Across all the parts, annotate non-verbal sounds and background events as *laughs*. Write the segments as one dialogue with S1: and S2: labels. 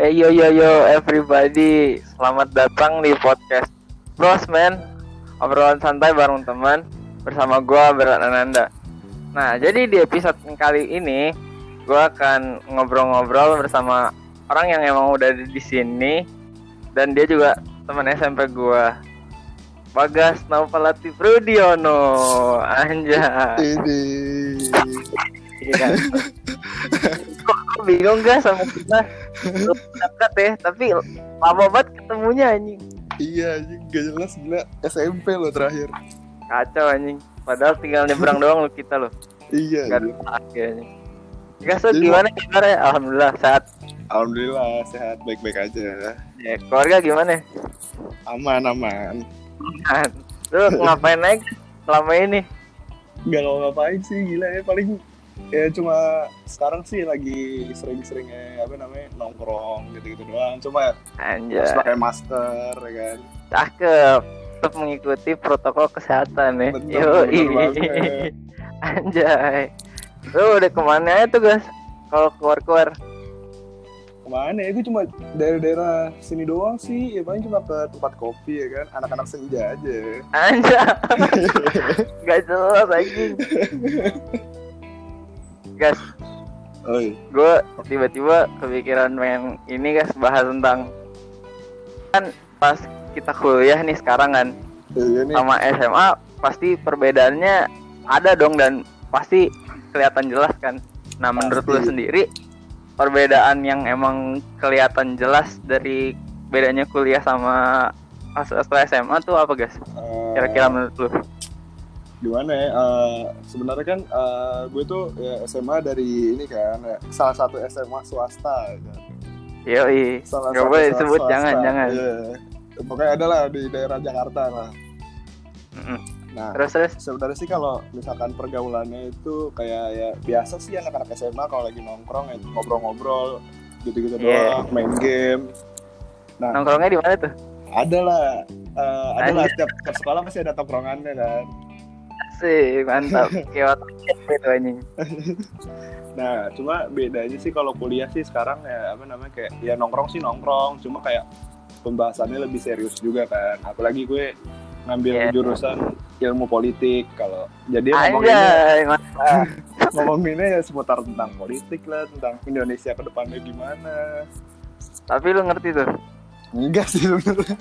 S1: Eh yo yo yo everybody, selamat datang di podcast Bros Man. Obrolan santai bareng teman bersama gua Berat Ananda. Nah, jadi di episode kali ini gua akan ngobrol-ngobrol bersama orang yang emang udah ada di sini dan dia juga teman SMP gua. Bagas Naupalati Prudiono. Anjay.
S2: Ini.
S1: Iya kan? Kok kok bingung gak sama kita Lu dekat ya tapi lama banget ketemunya anjing
S2: Iya, anjing, gak jelas gila SMP lo terakhir.
S1: kacau anjing padahal tinggal nyebrang doang lu kita lo
S2: Iya.
S1: gak ada
S2: anjing.
S1: lagi anjing Gas lu gimana kabar ya? Alhamdulillah sehat
S2: Alhamdulillah sehat baik-baik aja.
S1: ya, keluarga gimana?
S2: Aman aman.
S1: Kan. Lu ngapain aja selama ini?
S2: Gak mau ngapain sih gila ya paling ya cuma sekarang sih lagi sering-seringnya apa namanya nongkrong gitu-gitu doang. Cuma ya,
S1: Anjay,
S2: harus pakai masker ya kan.
S1: cakep tetap mengikuti protokol kesehatan ya.
S2: Bener,
S1: Yoi.
S2: bener banget.
S1: Anjay. Lu udah kemana aja tuh, Gas? Kalau keluar-keluar.
S2: Kemana ya? Gue cuma daerah-daerah sini doang sih. Ya paling cuma ke tempat kopi ya kan. Anak-anak senja aja.
S1: Anjay.
S2: *laughs*
S1: Gak jelas anjing. Gas,
S2: Oi.
S1: gue tiba-tiba kepikiran pengen ini guys bahas tentang kan pas kita kuliah nih sekarang kan
S2: Iya nih.
S1: sama SMA pasti perbedaannya ada dong dan pasti kelihatan jelas kan. Nah menurut lu
S2: Pasti.
S1: sendiri perbedaan yang emang kelihatan jelas dari bedanya kuliah sama pas setelah SMA tuh apa guys?
S2: Eh,
S1: Kira-kira menurut lu?
S2: gimana ya eh, sebenarnya kan eh, gue tuh ya, SMA dari ini kan ya, salah satu SMA swasta kan.
S1: Yoi,
S2: salah
S1: Nggak
S2: satu
S1: boleh
S2: SMA
S1: disebut,
S2: swasta.
S1: jangan, jangan.
S2: Iya. pokoknya ada lah di daerah Jakarta lah
S1: Mm-mm.
S2: nah
S1: terus terus.
S2: sebenarnya sih kalau misalkan pergaulannya itu kayak ya biasa sih anak-anak SMA kalau lagi nongkrong ya ngobrol-ngobrol gitu-gitu
S1: Iya.
S2: doang main game nah
S1: Nongkrongnya di mana tuh?
S2: ada lah eh, ada
S1: Ada.
S2: lah setiap, setiap sekolah pasti ada tongkrongannya kan
S1: Sih,
S2: *laughs*
S1: mantap. Kayak waktu SMP tuh anjing.
S2: Nah, cuma bedanya sih kalau kuliah sih sekarang ya apa namanya kayak ya nongkrong sih nongkrong, cuma kayak pembahasannya lebih serius juga kan. Apalagi gue ngambil
S1: Iya.
S2: jurusan ilmu politik kalau jadi ngomonginnya, ah,
S1: Anjay, mantap.
S2: ngomonginnya ya seputar tentang politik lah, tentang Indonesia ke depannya gimana.
S1: Tapi lu ngerti tuh.
S2: Enggak sih sebenarnya.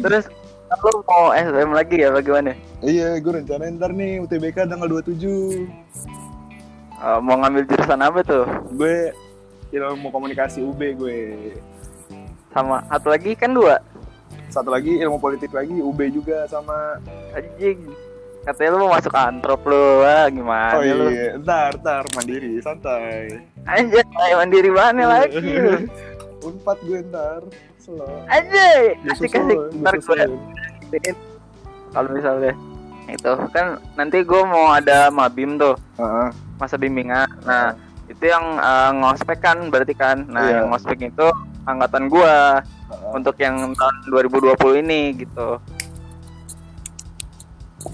S1: Terus lu mau SBM lagi ya bagaimana?
S2: Iya, gue rencanain ntar nih UTBK tanggal 27.
S1: Eh, mau ngambil jurusan apa tuh?
S2: Gue ilmu komunikasi UB gue.
S1: Sama satu lagi kan dua.
S2: Satu lagi ilmu politik lagi UB juga sama
S1: Anjing. Katanya lu mau masuk antrop lu. Wah, gimana
S2: Oh
S1: lu?
S2: iya, ntar, ntar mandiri, santai.
S1: Anjay, mandiri mana lagi lu?
S2: *laughs* Unpad gue ntar, slow.
S1: Anjay,
S2: Gue
S1: asik
S2: susul,
S1: asik.
S2: gue
S1: Ntar gue
S2: susul.
S1: liatin. kalau misalnya itu kan nanti gue mau ada mabim tuh
S2: Heeh.
S1: masa bimbingan. Nah, itu yang eh, ngospek kan berarti kan. Nah,
S2: Iya.
S1: yang ngospek itu angkatan gua
S2: Heeh.
S1: untuk yang tahun 2020 ini gitu.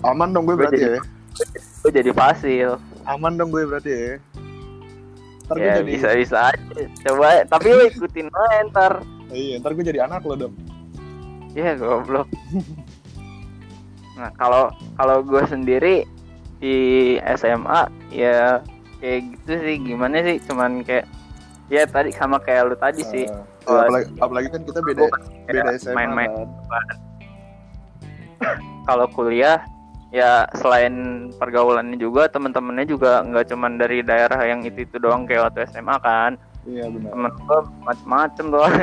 S2: aman dong gue berarti
S1: jadi-
S2: ya.
S1: Gue jadi fasil.
S2: Aman dong gue berarti ya. Ntar gue
S1: ya
S2: jadi,
S1: bisa bisa aja. Coba tapi lu ikutin aja ntar.
S2: iya, ntar gue jadi anak lo dong.
S1: Ya goblok. nah, kalau kalau gue sendiri di SMA ya kayak gitu sih gimana sih cuman kayak ya tadi sama kayak lu tadi Iya sih
S2: Eh,
S1: Gua-
S2: apalagi, apalagi kan kita beda,
S1: Gua
S2: beda
S1: kayak
S2: SMA.
S1: main-main
S2: kan.
S1: kalau kuliah ya selain pergaulannya juga teman-temannya juga nggak cuman dari daerah yang itu itu doang kayak waktu SMA kan
S2: Iya benar.
S1: temen gue macem-macem tuh *laughs*
S2: Ah,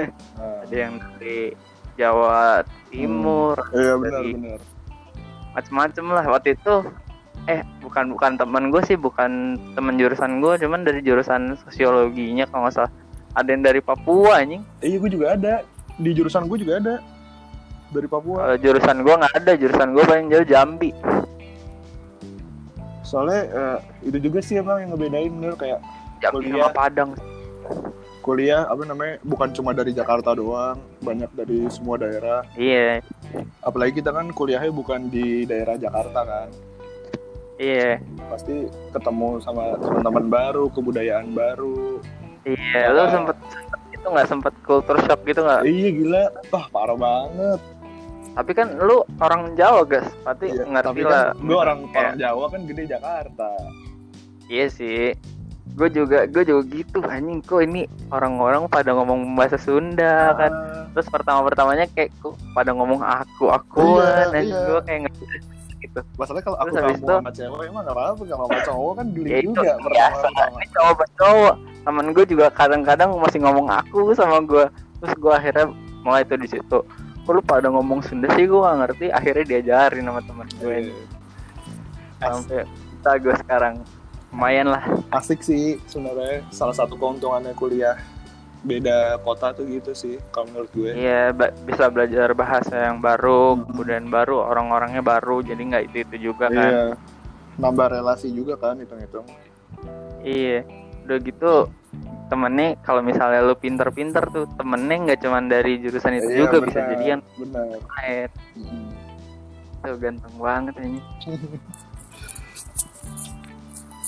S1: ada yang dari Jawa Timur
S2: iya benar
S1: Jadi-
S2: benar.
S1: macem-macem lah waktu itu eh bukan bukan temen gue sih bukan temen jurusan gue cuman dari jurusan sosiologinya kalau nggak salah ada yang dari Papua anjing
S2: Iya gue juga ada di jurusan gue juga ada dari Papua.
S1: Kalau jurusan gue nggak ada jurusan gue paling jauh Jambi
S2: Soalnya eh, itu juga sih emang yang ngebedain bener kayak
S1: Jambi
S2: Kuliah.
S1: sama Padang
S2: kuliah apa namanya bukan cuma dari Jakarta doang banyak dari semua daerah
S1: iya
S2: apalagi kita kan kuliahnya bukan di daerah Jakarta kan
S1: iya
S2: pasti ketemu sama teman-teman baru kebudayaan baru
S1: Iya, lu
S2: Ah.
S1: sempet, sempet itu nggak sempet culture shock gitu nggak?
S2: Iya gila, wah parah banget.
S1: Tapi kan lu orang Jawa, guys. Pasti
S2: Iya,
S1: ngerti
S2: tapi
S1: lah.
S2: kan gue orang
S1: Kayak,
S2: orang Jawa kan gede Jakarta.
S1: Iya sih. Gue juga, gue juga gitu anjing kok ini orang-orang pada ngomong bahasa Sunda kan.
S2: Ah,
S1: Terus pertama-pertamanya kayak kok pada ngomong aku, akuan,
S2: Iya,
S1: anjing
S2: iya.
S1: gue kayak nggak gitu.
S2: masalahnya kalau aku
S1: Terus habis
S2: kamu
S1: itu-
S2: sama cewek emang gak apa-apa kalau sama cowok kan geli
S1: Ya itu
S2: juga
S1: biasa. *laughs*
S2: pertama-tama.
S1: Ini cowok-cowok temen gue juga kadang-kadang masih ngomong aku sama gue. Terus gue akhirnya mulai itu di situ. Kok lu pada ngomong Sunda sih gue gak ngerti. Akhirnya diajarin sama temen gue.
S2: Eh, as-
S1: sampai kita gue sekarang lumayan lah
S2: Asik sih sebenarnya salah satu keuntungannya kuliah beda kota tuh gitu sih kalau menurut gue.
S1: iya ba- bisa belajar bahasa yang baru
S2: Mhm.
S1: kemudian baru orang-orangnya baru jadi nggak itu itu juga kan
S2: Iya. Nambah relasi juga kan hitung-hitung.
S1: iya udah gitu temennya kalau misalnya lu pinter-pinter tuh temennya nggak cuman dari jurusan itu
S2: Iya,
S1: juga bisa
S2: benar.
S1: jadi yang
S2: Benar.
S1: lain
S2: Mm.
S1: tuh ganteng banget ini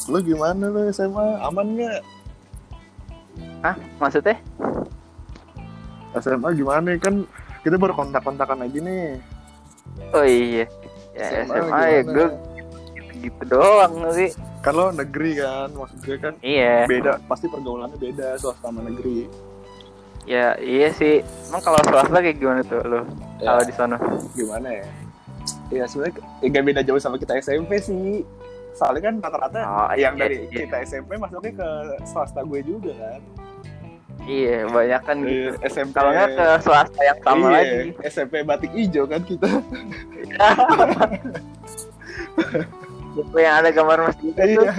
S2: Lu gimana lu SMA? Aman nggak?
S1: ah maksudnya
S2: SMA gimana kan kita baru kontak-kontakan aja nih.
S1: oh iya ya SMA ya
S2: gimana?
S1: gue gitu doang sih
S2: Kan lo negeri kan, maksud gue kan
S1: iya
S2: beda, pasti pergaulannya beda swasta sama negeri.
S1: ya iya sih emang kalau swasta kayak gimana tuh lu
S2: Ya.
S1: kalau di sana
S2: gimana ya? Ya sebenarnya ya gak beda jauh sama kita SMP sih. Soalnya kan rata-rata
S1: Oh, iya,
S2: yang dari
S1: iya.
S2: kita SMP masuknya ke swasta gue juga kan.
S1: Iya, banyak kan gitu.
S2: Eh, SMP
S1: Kalau nggak ke swasta yang sama
S2: Iya,
S1: lagi.
S2: SMP batik ijo kan
S1: *laughs*
S2: kita.
S1: Buku gitu, yang ada gambar masjid itu,
S2: Iya.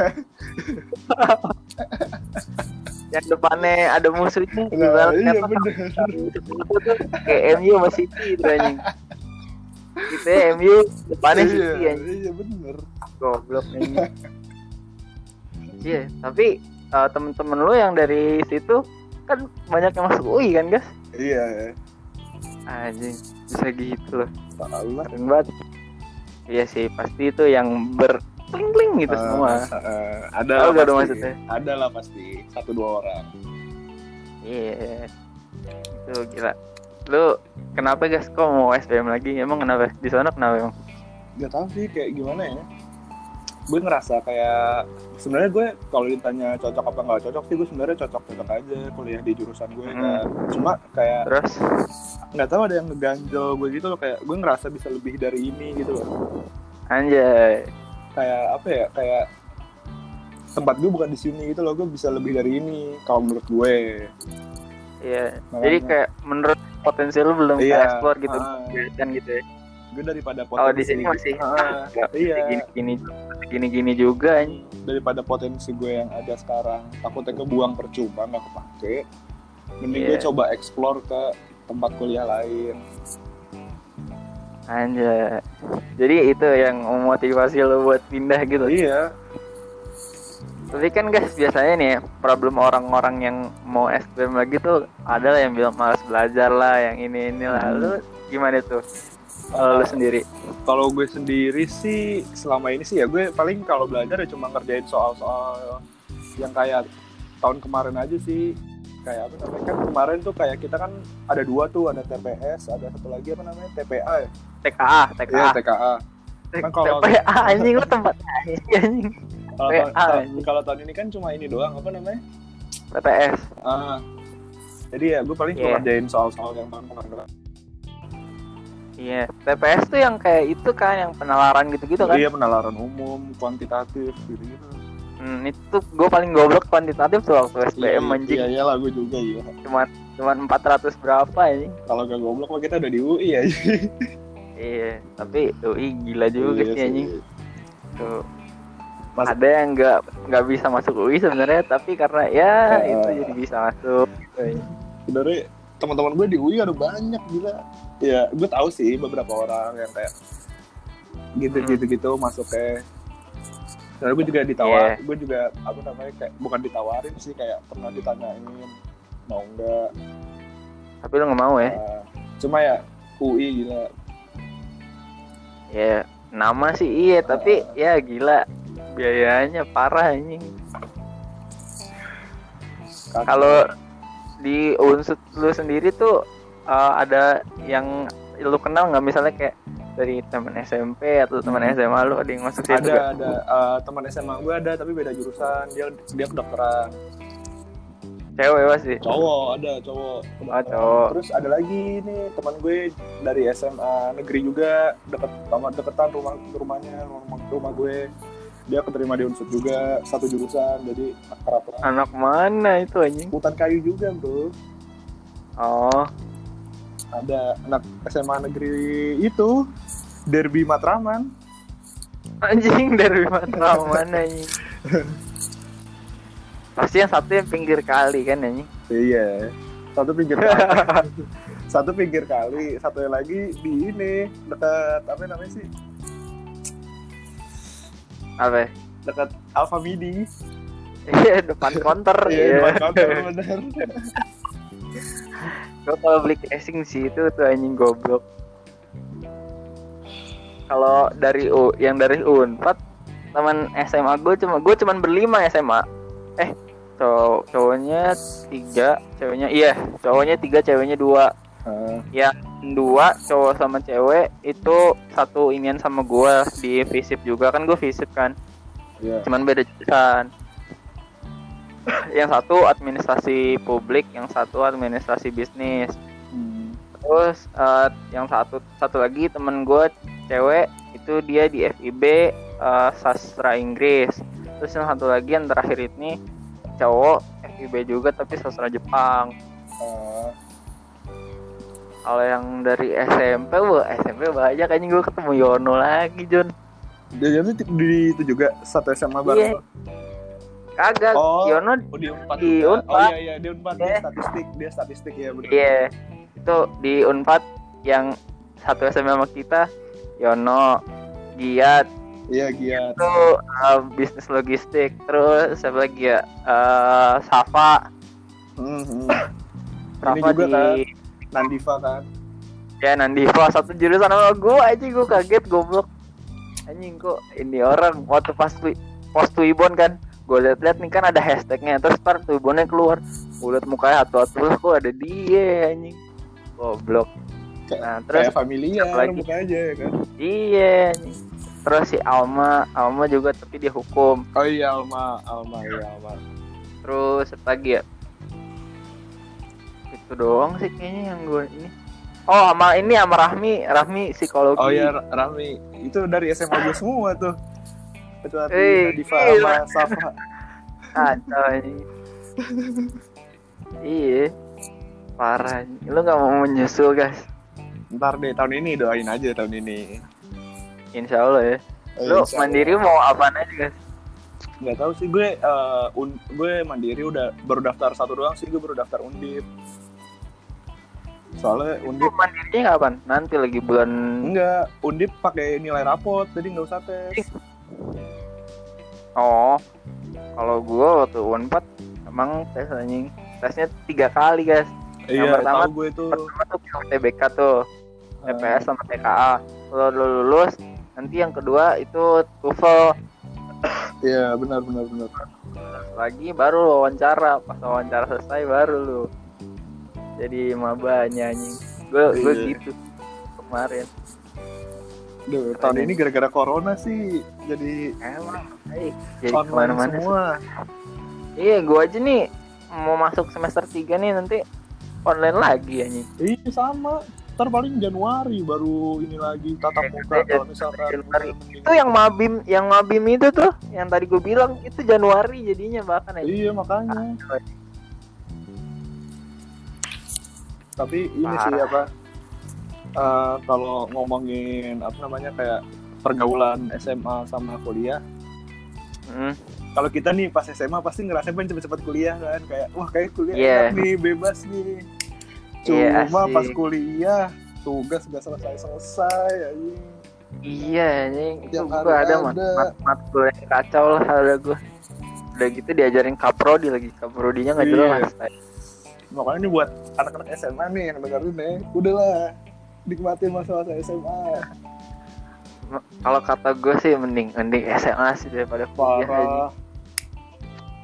S1: yang depannya ada musuhnya.
S2: Nah,
S1: ibarat
S2: iya
S1: kata-
S2: bener.
S1: Itu tuh Kayak MU sama City gitu anjing. Gitu ya, MU depannya
S2: Iya,
S1: City anjing.
S2: Iya bener.
S1: Goblok anjing. Iya, tapi eh, temen-temen lu yang dari situ kan banyak yang masuk UI kan, guys?
S2: Iya.
S1: Anjing, bisa gitu loh.
S2: Tahu lah.
S1: Keren banget. Iya sih, pasti itu yang ber pling gitu semua.
S2: Eh, eh, ada
S1: Tahu
S2: lah
S1: gak dong
S2: pasti.
S1: maksudnya?
S2: Ada lah pasti. Satu dua orang.
S1: Iya. Itu gila. Lu kenapa guys kok mau SBM lagi? Emang kenapa? Di sana kenapa emang?
S2: Gak tau sih kayak gimana ya. Gue ngerasa kayak sebenarnya gue kalau ditanya cocok apa nggak cocok sih gue sebenarnya cocok-cocok aja kuliah di jurusan gue
S1: Hmm.
S2: kan. Cuma kayak
S1: Terus
S2: nggak tahu ada yang ngeganjel gue gitu loh kayak gue ngerasa bisa lebih dari ini gitu loh.
S1: anjay.
S2: Kayak apa ya? Kayak tempat gue bukan di sini gitu loh gue bisa lebih dari ini kalau menurut gue
S1: Iya.
S2: Makanya.
S1: Jadi kayak menurut potensi lu belum
S2: Iya.
S1: yeah. explore gitu.
S2: Ah.
S1: Kan gitu ya.
S2: gue daripada
S1: Kalau
S2: potensi
S1: di sini masih
S2: Ah, iya.
S1: gini-gini gini-gini juga anjing.
S2: daripada potensi gue yang ada sekarang takutnya kebuang percuma nggak kepake mending gue
S1: Iya.
S2: coba explore ke tempat kuliah lain
S1: Anjay. Jadi itu yang memotivasi lu buat pindah gitu.
S2: iya
S1: Tapi kan guys biasanya nih ya, problem orang-orang yang mau SBM lagi tuh ada lah yang bilang malas belajar lah, yang ini ini lah.
S2: Hmm.
S1: Lu gimana tuh? Kalau lu sendiri?
S2: kalau gue sendiri sih selama ini sih ya gue paling kalau belajar ya cuma ngerjain soal-soal yang kayak tahun kemarin aja sih kayak apa namanya kan kemarin tuh kayak kita kan ada dua tuh ada TPS ada satu lagi apa namanya TPA ya
S1: TKA,
S2: Iya,
S1: TKA.
S2: TKA kan kalau-
S1: TPA anjing lu tempat anjing.
S2: kalau tahun-
S1: TPA.
S2: kalau- kalau tahun ini kan cuma ini doang apa namanya
S1: TPS.
S2: Ah. Jadi ya gue paling
S1: Iya.
S2: cuma ngerjain soal-soal yang tahun kemarin doang.
S1: Iya, TPS tuh yang kayak itu kan yang penalaran gitu-gitu kan.
S2: Iya penalaran umum, kuantitatif gitu-gitu.
S1: Hmm, itu gue paling goblok kuantitatif tuh waktu
S2: Iya,
S1: SBM anjing.
S2: Iya, iyalah gue juga iya.
S1: Cuman cuman 400 berapa anjing.
S2: Kalau gak goblok mah kita udah di UI ya. *laughs*
S1: Iya, tapi UI gila juga
S2: Iya
S1: sih anjing. Tuh.
S2: Mas-
S1: ada yang nggak nggak bisa masuk UI sebenarnya tapi karena ya
S2: Heeh.
S1: itu jadi bisa masuk gitu.
S2: Sebenarnya teman-teman gue di UI ada banyak gila. Ya, gue tahu sih beberapa orang yang kayak
S1: Hmm.
S2: gitu-gitu gitu masuk ke Lalu gue juga ditawar,
S1: Iya.
S2: gue juga apa namanya kayak bukan ditawarin sih kayak pernah ditanyain mau nggak
S1: tapi lu nggak mau ya
S2: Nah, cuma ya UI gila
S1: ya nama sih iya tapi ya gila biayanya parah anjing
S2: Satu.
S1: Kalau di unsur lu sendiri tuh eh, ada yang lu kenal nggak misalnya kayak dari teman SMP atau teman SMA lu ada yang masuk situ
S2: Hmm. ada
S1: nggak?
S2: ada eh, teman SMA gue ada tapi beda jurusan dia dia kedokteran
S1: cewek pasti
S2: cowok ada cowok
S1: Oh, cowok.
S2: terus ada lagi nih teman gue dari SMA negeri juga deket sama deketan rumah rumahnya rumah, rumah gue dia keterima di unsur juga satu jurusan jadi akrab lah.
S1: anak mana itu anjing
S2: hutan kayu juga bro
S1: oh *laughs*
S2: ada anak SMA negeri itu Derby Matraman
S1: anjing dari Matraman
S2: *laughs*
S1: anjing pasti yang satu yang pinggir kali kan anjing
S2: Iya. Satu pinggir kali.
S1: *laughs*
S2: satu pinggir kali, satu lagi di ini dekat apa namanya sih?
S1: apa *laughs* ya?
S2: Dekat Alfa Midi.
S1: iya depan counter
S2: di
S1: iya
S2: depan kantor, bener.
S1: Gua kalau beli casing sih itu tuh anjing goblok kalau dari U, yang dari Unpad teman SMA gue cuma gue cuman berlima SMA eh cow cowoknya tiga ceweknya iya cowoknya tiga ceweknya dua
S2: Ah,
S1: dua cowok sama cewek itu satu inian sama gua di visip juga kan gue visip kan
S2: iya.
S1: cuman beda jurusan yang satu administrasi publik yang satu administrasi bisnis
S2: Hmm.
S1: terus eh, yang satu satu lagi temen gue cewek itu dia di FIB eh, sastra Inggris terus yang satu lagi yang terakhir ini cowok FIB juga tapi sastra Jepang
S2: Ah,
S1: kalau yang dari SMP wah SMP banyak anjing gue ketemu Yono lagi Jun
S2: dia jadi di, di itu juga satu SMA
S1: Iya.
S2: bareng.
S1: kagak
S2: Oh.
S1: Yono
S2: Oh, dia empat.
S1: Di
S2: juga.
S1: Unpad.
S2: Oh iya iya, dia empat. Dia
S1: Iya.
S2: statistik, dia statistik ya benar.
S1: Iya, itu di Unpad yang satu SMA sama kita, Yono, Giat,
S2: Iya, giat.
S1: itu uh, bisnis logistik, terus siapa lagi ya, Eh, Safa,
S2: Hmm, hmm. Ini
S1: Safa
S2: juga
S1: di
S2: kan, Nandiva kan.
S1: ya *laughs* Nandiva satu jurusan sama gua aja gua kaget goblok. Anjing kok ini orang waktu pas twi- post Twibbon kan gue liat-liat nih kan ada hashtagnya terus ntar Twibbonnya keluar gue liat mukanya satu-satu lah kok ada dia anjing goblok nah terus
S2: Kayak familiar
S1: satu lagi.
S2: mukanya aja ya kan.
S1: Iya. anjing. Terus si Alma, Alma juga tapi dia hukum.
S2: Oh iya, Alma, Alma, iya Alma.
S1: Terus apa lagi ya? Itu doang sih kayaknya yang gue ini. Oh, sama ini sama Rahmi, Rahmi psikologi.
S2: Oh ya Rami, itu dari SMA gue semua tuh. Itu
S1: Eh,
S2: artinya Diva
S1: gila.
S2: sama Safa.
S1: Kacau ini. iya. Parah. ini. Lu nggak mau menyusul, guys.
S2: Ntar deh tahun ini doain aja tahun ini.
S1: Insya Allah ya.
S2: Eh,
S1: Lu mandiri mau apa aja, guys?
S2: Gak tau sih gue eh, un- gue mandiri udah baru daftar satu doang sih gue baru daftar undip. Soalnya
S1: Lu
S2: undip
S1: mandirinya kapan? Nanti lagi bulan
S2: enggak undip pakai nilai rapot jadi nggak usah tes.
S1: Oh, kalau gue waktu unpad emang tes anjing tesnya tiga kali guys. Yang
S2: Iya
S1: pertama-
S2: tahu gue tuh.
S1: Pertama tuh yang TBK tuh,
S2: eh,
S1: TPS sama TKA.
S2: Hmm.
S1: Kalau lu lulus, nanti yang kedua itu TOEFL
S2: Iya benar benar benar.
S1: lagi baru lu wawancara. Pas wawancara selesai baru lu jadi maba nyanyi. Gue gue
S2: Iya.
S1: gitu kemarin.
S2: Duh, tahun ini gara-gara corona sih jadi
S1: Emang, eh, jadi
S2: online
S1: kemana-mana.
S2: semua.
S1: Iya, gue aja nih mau masuk semester 3 nih nanti online lagi anjing.
S2: Iya sama. Ntar paling Januari baru ini lagi tatap muka kalau misalkan
S1: Iya, Januari. itu yang mabim yang mabim itu tuh yang tadi gue bilang itu Januari jadinya bahkan ya
S2: Iya makanya. Tapi ini sih
S1: Parah.
S2: apa? eh, kalau ngomongin apa namanya kayak pergaulan SMA sama kuliah.
S1: Hmm.
S2: Kalau kita nih pas SMA pasti ngerasain pengen cepet-cepet kuliah kan kayak wah kayak kuliah
S1: Iya.
S2: enak nih bebas nih.
S1: Iya,
S2: Cuma
S1: asik.
S2: pas kuliah tugas gak selesai-selesai anjing.
S1: iya anjing itu
S2: Yang
S1: gue ada
S2: ada-
S1: mat
S2: ada.
S1: mat mat gue yang kacau lah ada gue udah gitu diajarin kaprodi lagi kaprodinya nggak
S2: Iya.
S1: jelas
S2: makanya ini buat anak-anak SMA nih yang dengerin nih udahlah nikmatin masa-masa SMA
S1: kalau kata gue Iya, sih mending mending SMA sih daripada kuliah anjing
S2: parah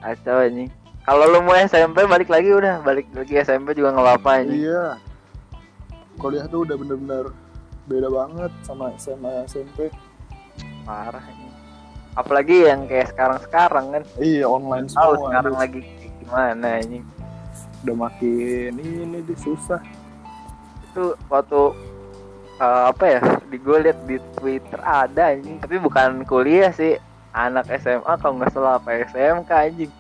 S1: kacau anjing Kalau lu mau SMP balik lagi udah, balik lagi SMP juga ngelapain.
S2: Iya. Kuliah tuh udah bener-bener beda banget sama SMA SMP.
S1: Parah ini. Apalagi yang kayak sekarang-sekarang kan.
S2: Iya online
S1: Tahu
S2: semua.
S1: sekarang
S2: aduh.
S1: lagi gimana ini.
S2: Udah makin ini di susah.
S1: Itu waktu eh, apa ya? Di gue liat di Twitter ada ini, tapi bukan kuliah sih. Anak SMA kalau nggak salah apa SMK anjing.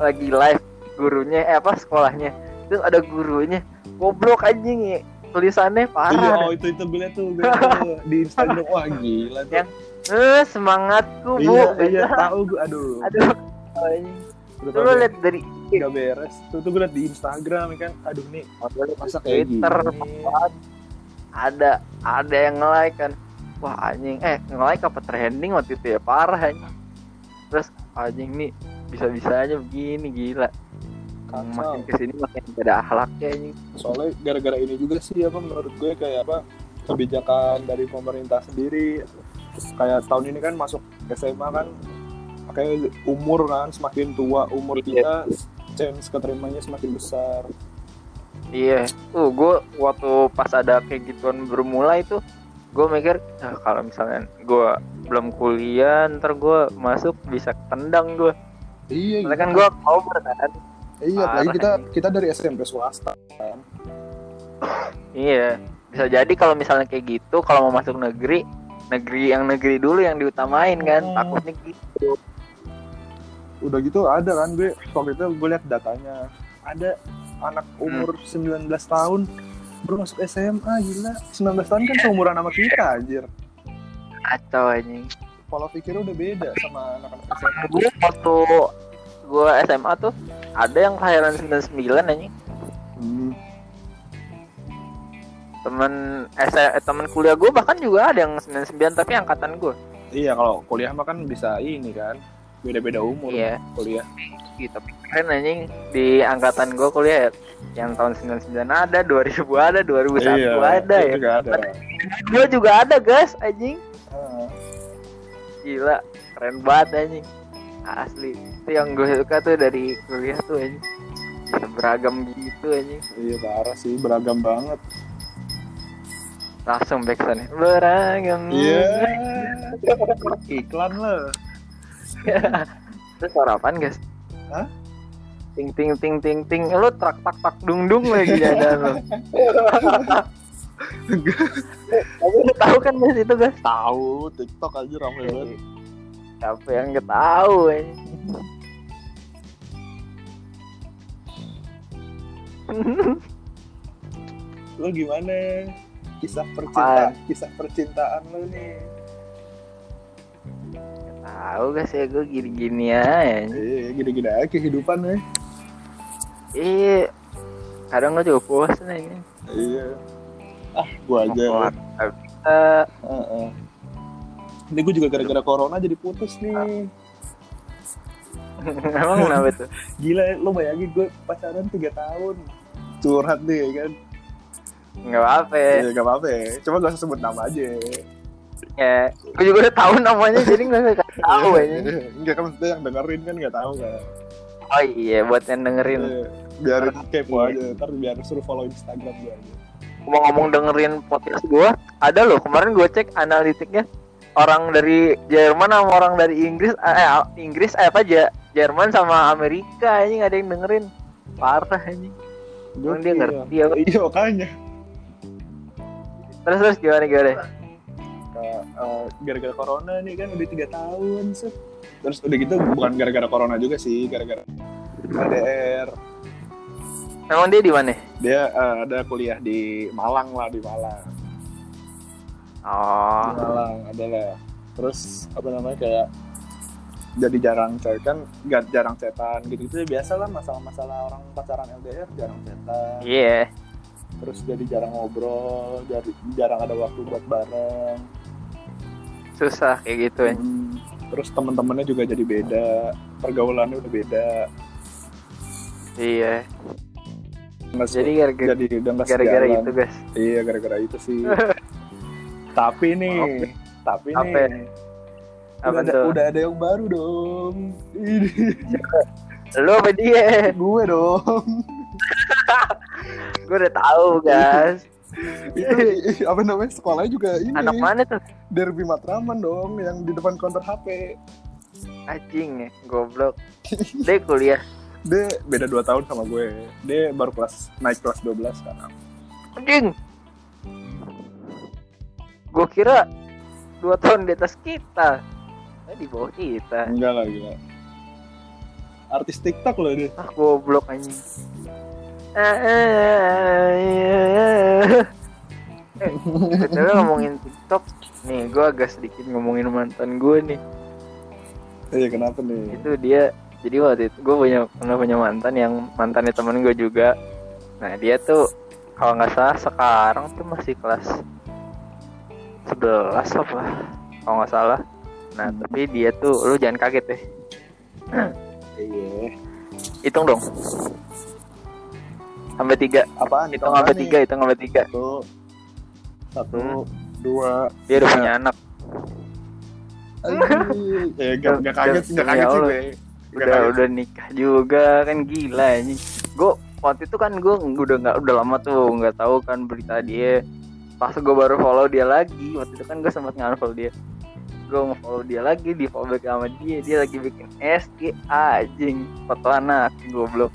S1: Lagi live gurunya eh, apa sekolahnya. Terus ada gurunya. Goblok anjing ya. Tulisannya
S2: iya,
S1: parah.
S2: oh itu itu gue liat tuh, *laughs* gue liat tuh di Instagram wah gila tuh.
S1: Yang Eh, semangatku, Bu.
S2: iya, iya, tahu gue aduh.
S1: Aduh. anjing.
S2: Udah
S1: Lu lihat dari
S2: gak beres. Tuh tuh gue liat di Instagram ya kan. Aduh nih, masa kayak gini.
S1: Twitter ada ada yang nge-like kan. Wah anjing, eh nge-like apa trending waktu itu ya parah anjing. Terus anjing nih bisa-bisanya begini gila.
S2: Kacau.
S1: Makin kesini makin gak ada akhlaknya anjing.
S2: soalnya gara-gara ini juga sih apa menurut gue kayak apa kebijakan dari pemerintah sendiri kayak tahun ini kan masuk SMA kan kayak umur kan semakin tua umur kita
S1: Iya.
S2: chance keterimanya semakin besar
S1: Iya, tuh gue waktu pas ada kayak gituan bermula itu gue mikir "Ah, kalau misalnya gue belum kuliah ntar gue masuk bisa tendang gue.
S2: iya
S1: Karena kan gue cover kan.
S2: iya apalagi
S1: parah
S2: kita
S1: ini.
S2: kita dari SMP swasta
S1: Iya, bisa jadi kalau misalnya kayak gitu, kalau mau masuk negeri, negeri yang negeri dulu yang diutamain kan,
S2: Hmm.
S1: takutnya gitu.
S2: udah gitu ada kan gue waktu itu gue lihat datanya ada anak umur
S1: Hmm.
S2: 19 tahun baru masuk SMA gila 19 tahun kan seumuran sama kita anjir
S1: Kacau anjing.
S2: pola pikirnya udah beda sama anak-anak SMA
S1: Gue waktu gue SMA tuh ada yang kelahiran 99 anjing.
S2: Hmm.
S1: Temen S eh, temen kuliah gue bahkan juga ada yang 99 tapi angkatan gue.
S2: Iya kalau kuliah mah kan bisa ini kan beda-beda umur
S1: Iya,
S2: kuliah.
S1: gitu. Tapi Keren anjing di angkatan gue kuliah ya, yang tahun 99 ada, 2000 ada, 2001
S2: Iya,
S1: ada ya.
S2: Juga ada.
S1: Gue juga ada guys anjing.
S2: Ah,
S1: Gila, keren banget anjing. Asli. Itu yang gue suka tuh dari kuliah tuh anjing. Bisa beragam gitu anjing.
S2: iya parah sih beragam banget.
S1: Langsung back sound. Beragam. *laughs*
S2: Iya. Iklan lah.
S1: Itu suara apaan, guys?
S2: Hah?
S1: Ting ting ting ting ting. Lu trak tak tak dung dung lagi ada lu. Tapi lu tahu kan guys itu, guys?
S2: Tahu TikTok aja
S1: Iya.
S2: ramai banget.
S1: Siapa yang gak tahu anjing.
S2: Lu gimana? Kisah percintaan, kisah percintaan lu nih.
S1: tahu guys ya gue gini-gini aja. anjing.
S2: Iya, gini-gini aja kehidupan ya.
S1: Iya. Kadang gue juga bosan anjing.
S2: Iya. Ah, gua aja.
S1: Mau keluar. Eh, *laughs*
S2: Heeh. Ini gue juga gara-gara corona jadi putus
S1: Ah.
S2: nih.
S1: emang kenapa tuh?
S2: Gila, lu bayangin gue pacaran 3 tahun. Curhat nih ya kan.
S1: Nggak apa-apa ya.
S2: Iya, gak apa-apa ya. Cuma gak usah sebut nama aja.
S1: ya. Gue juga udah tahu namanya jadi nggak usah kasih tahu ya.
S2: *laughs* Iya,
S1: ini.
S2: Enggak kan maksudnya yang dengerin kan gak tahu kan.
S1: Oh iya buat yang dengerin.
S2: Iya, Biar kepo
S1: Iya.
S2: aja. Ntar biar suruh follow Instagram gue aja.
S1: Ngomong-ngomong dengerin podcast gue, ada loh kemarin gue cek analitiknya orang dari Jerman sama orang dari Inggris eh Inggris eh, apa aja Jerman sama Amerika ini nggak ada yang dengerin parah ini Emang dia
S2: Gokil.
S1: ngerti apa?
S2: Iya, makanya.
S1: terus terus gimana gimana
S2: Kayak, eh, Gara-gara corona nih kan udah 3 tahun. Set. Terus udah gitu bukan gara-gara corona juga sih. Gara-gara KDR.
S1: emang dia di mana
S2: Dia eh, ada kuliah di Malang lah, di Malang. di
S1: oh
S2: Malang adalah terus apa namanya kayak jadi jarang chat kan nggak jarang cetan gitu gitu biasa lah masalah-masalah orang pacaran LDR jarang cetan
S1: iya
S2: terus jadi jarang ngobrol jadi jarang ada waktu buat bareng
S1: susah kayak gitu ya
S2: Hmm, terus teman-temannya juga jadi beda pergaulannya udah beda
S1: iya
S2: Nggak se-
S1: jadi gara-gara
S2: Iya. jadi udah nggak
S1: gara-gara
S2: sejalan.
S1: itu guys
S2: iya
S1: *laughs*
S2: gara-gara itu sih tapi nih tapi
S1: ya? Apa ya?
S2: nih
S1: Apa
S2: udah, ada,
S1: tuh?
S2: udah ada yang baru dong. Ini *laughs*
S1: Lu apa dia?
S2: gue dong.
S1: Gue udah tahu, guys.
S2: Itu Iya, apa namanya? Sekolahnya juga ini.
S1: Anak mana tuh?
S2: Derby Matraman dong yang di depan counter HP.
S1: Anjing ya, goblok. Dia kuliah.
S2: Dia beda 2 tahun sama gue. Dia baru kelas naik kelas kan. 12 sekarang.
S1: Anjing. Gue kira dua tahun di atas kita. Eh, di bawah kita.
S2: Enggak lah gila. Artis TikTok loh dia.
S1: Ah, goblok anjing. Eh, eh, eh, eh. Eh, btw ngomongin TikTok, nih gue agak sedikit ngomongin mantan gue nih.
S2: Iya kenapa nih?
S1: itu dia jadi waktu itu gue punya pernah punya mantan yang mantannya temen gue juga nah dia tuh kalau nggak salah sekarang tuh masih kelas 11 apa kalau nggak salah nah tapi dia tuh lu jangan kaget deh
S2: Iya.
S1: hitung dong sampai tiga
S2: Apaan?
S1: hitung
S2: Apaan
S1: sampai
S2: nih?
S1: tiga hitung sampai tiga
S2: Satu. Satu.
S1: Hmm.
S2: Dua.
S1: dia udah punya anak
S2: Anjing. *laughs* Eh, gak, gak
S1: Demi
S2: kaget, gak kaget sih
S1: Iya, Allah.
S2: gue. Gak
S1: udah
S2: kaget.
S1: udah nikah juga kan gila ini gue waktu itu kan gue udah nggak udah lama tuh nggak tahu kan berita dia pas gue baru follow dia lagi waktu itu kan gue sempat nge-unfollow dia gue nge-follow dia lagi di follow back sama dia dia lagi bikin SG anjing foto anak goblok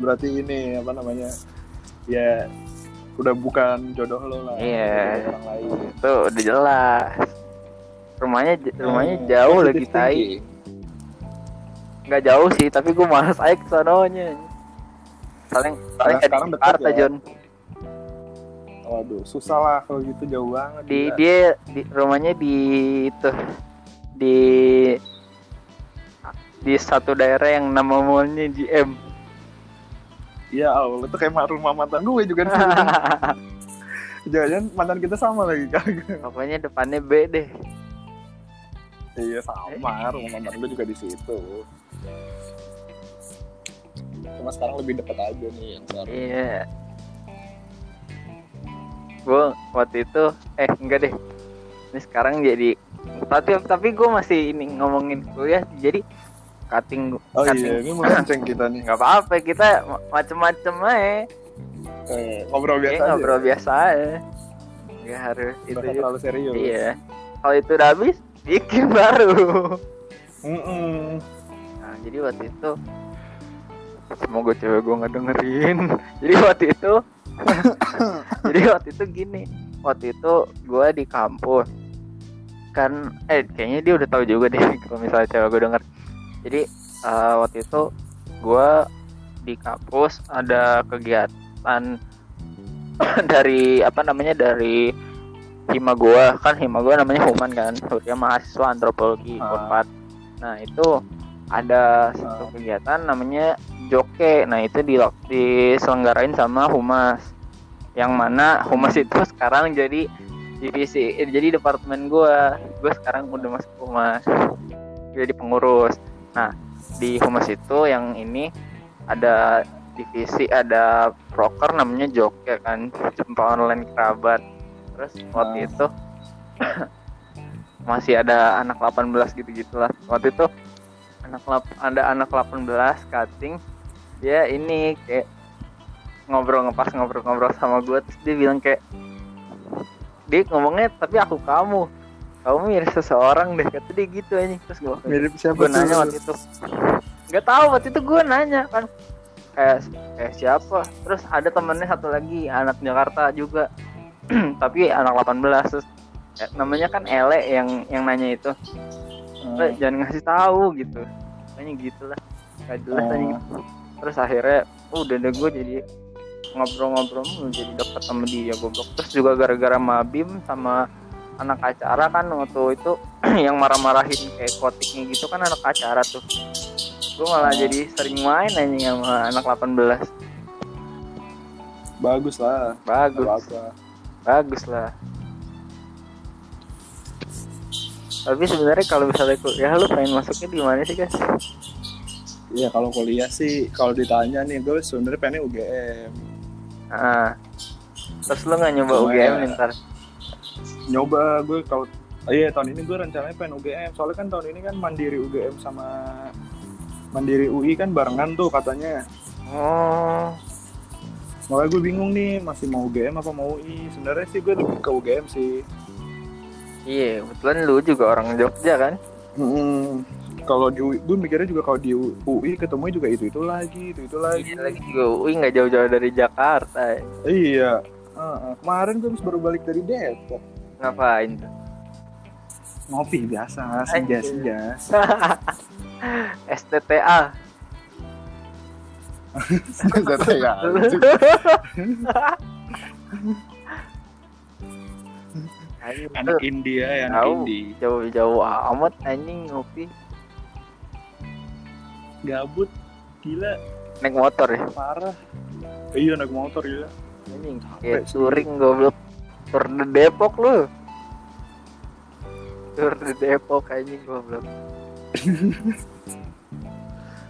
S2: Berarti ini apa namanya? Ya udah bukan jodoh lo lah.
S1: Iya.
S2: Jodoh Orang lain.
S1: itu udah jelas rumahnya j- rumahnya
S2: Hmm,
S1: jauh
S2: positive
S1: lagi tai
S2: thinking.
S1: nggak jauh sih tapi gue malas aja ke sononya paling paling kayak
S2: sekarang
S1: di
S2: deket
S1: Jakarta
S2: ya.
S1: John
S2: Waduh, susah lah kalau gitu jauh banget.
S1: di
S2: gila.
S1: dia di rumahnya di itu di di satu daerah yang nama mallnya
S2: *laughs*
S1: GM
S2: Ya Allah, itu kayak rumah mantan gue juga nih.
S1: *laughs*
S2: Jangan-jangan mantan kita sama lagi kagak.
S1: pokoknya depannya B deh
S2: Iya, sama. Rumah mantan gue juga di situ. Cuma sekarang lebih dekat aja nih yang sekarang.
S1: iya gua waktu itu eh enggak deh ini sekarang jadi tapi tapi gue masih ini ngomongin kuliah jadi cutting
S2: Oh
S1: cutting
S2: iya, ini mau kenceng kita nih.
S1: nggak apa-apa kita ma- macem-macem aja
S2: Eh, ngobrol
S1: Iya,
S2: biasa aja. ya.
S1: ngobrol biasa aja nggak harus itu
S2: Nggak
S1: juga
S2: terlalu serius.
S1: Iya. Kalau itu udah habis, bikin baru.
S2: Mm-mm.
S1: Nah, jadi waktu itu semoga cewek gue nggak dengerin. *laughs* jadi waktu itu, *laughs* jadi waktu itu gini, waktu itu gue di kampus kan, eh kayaknya dia udah tahu juga deh *laughs* kalau misalnya cewek gue denger. Jadi eh, waktu itu gue di kampus ada kegiatan *coughs* dari apa namanya dari hima gua kan hima gua namanya human kan dia mahasiswa antropologi
S2: Ah.
S1: unpad nah itu ada
S2: Ah.
S1: satu kegiatan namanya joke nah itu di diselenggarain sama humas yang mana humas itu *laughs* sekarang jadi divisi eh, jadi departemen gua gua sekarang udah masuk humas jadi pengurus nah di humas itu yang ini ada divisi ada proker namanya joke kan jumpa online kerabat terus waktu
S2: Ah.
S1: itu *laughs* masih ada anak 18 gitu gitulah waktu itu anak lap- ada anak 18 cutting dia ini kayak ngobrol ngepas ngobrol-ngobrol sama gue terus dia bilang kayak dia ngomongnya tapi aku kamu kamu mirip seseorang deh kata dia gitu aja terus gue
S2: Mirip siapa
S1: gue nanya waktu itu nggak tahu waktu itu gue nanya kan kayak kayak siapa terus ada temennya satu lagi anak Jakarta juga *clears throat* tapi anak 18 terus eh, namanya kan Ele yang yang nanya itu "Le,
S2: Hmm.
S1: jangan ngasih tahu gitu makanya gitulah gak jelas
S2: Oh.
S1: anjing. terus akhirnya uh, udah deh gue jadi ngobrol-ngobrol mulu, jadi deket sama dia goblok terus juga gara-gara mabim sama anak acara kan waktu itu *clears throat* yang marah-marahin kayak kotiknya gitu kan anak acara tuh gue malah
S2: Oh.
S1: jadi sering main aja sama anak 18
S2: Bagus lah.
S1: bagus
S2: Apa-apa.
S1: bagus lah tapi sebenarnya kalau misalnya kuliah lu pengen masuknya di mana sih guys
S2: Iya kalau kuliah sih kalau ditanya nih gue sebenarnya pengen UGM
S1: Ah. Terus lu gak nyoba
S2: Lumayan.
S1: UGM nih ntar
S2: nyoba gue kalau Oh iya tahun ini gue rencananya pengen UGM soalnya kan tahun ini kan mandiri UGM sama mandiri UI kan barengan tuh katanya
S1: Oh,
S2: makanya gue bingung nih masih mau UGM apa mau UI sebenarnya sih gue lebih ke UGM sih
S1: iya, kebetulan lu juga orang Jogja kan?
S2: Mm-mm. kalau di UI gue mikirnya juga kalau di UI ketemu juga itu itu lagi itu itu lagi
S1: Iya, lagi juga UI nggak jauh-jauh dari Jakarta. ya.
S2: iya Heeh. kemarin gue habis baru balik dari Depok
S1: Ngapain tuh?
S2: ngopi biasa senja
S1: Anjir.
S2: senja
S1: STTA.
S2: senja ya
S1: Ayo,
S2: anak India ya anak
S1: Tahu.
S2: Indi
S1: jauh-jauh amat anjing ngopi
S2: gabut gila
S1: naik motor ya
S2: parah iya naik motor gila
S1: anjing
S2: Capek
S1: kayak
S2: sih.
S1: touring goblok tur de Depok lu tur de Depok anjing goblok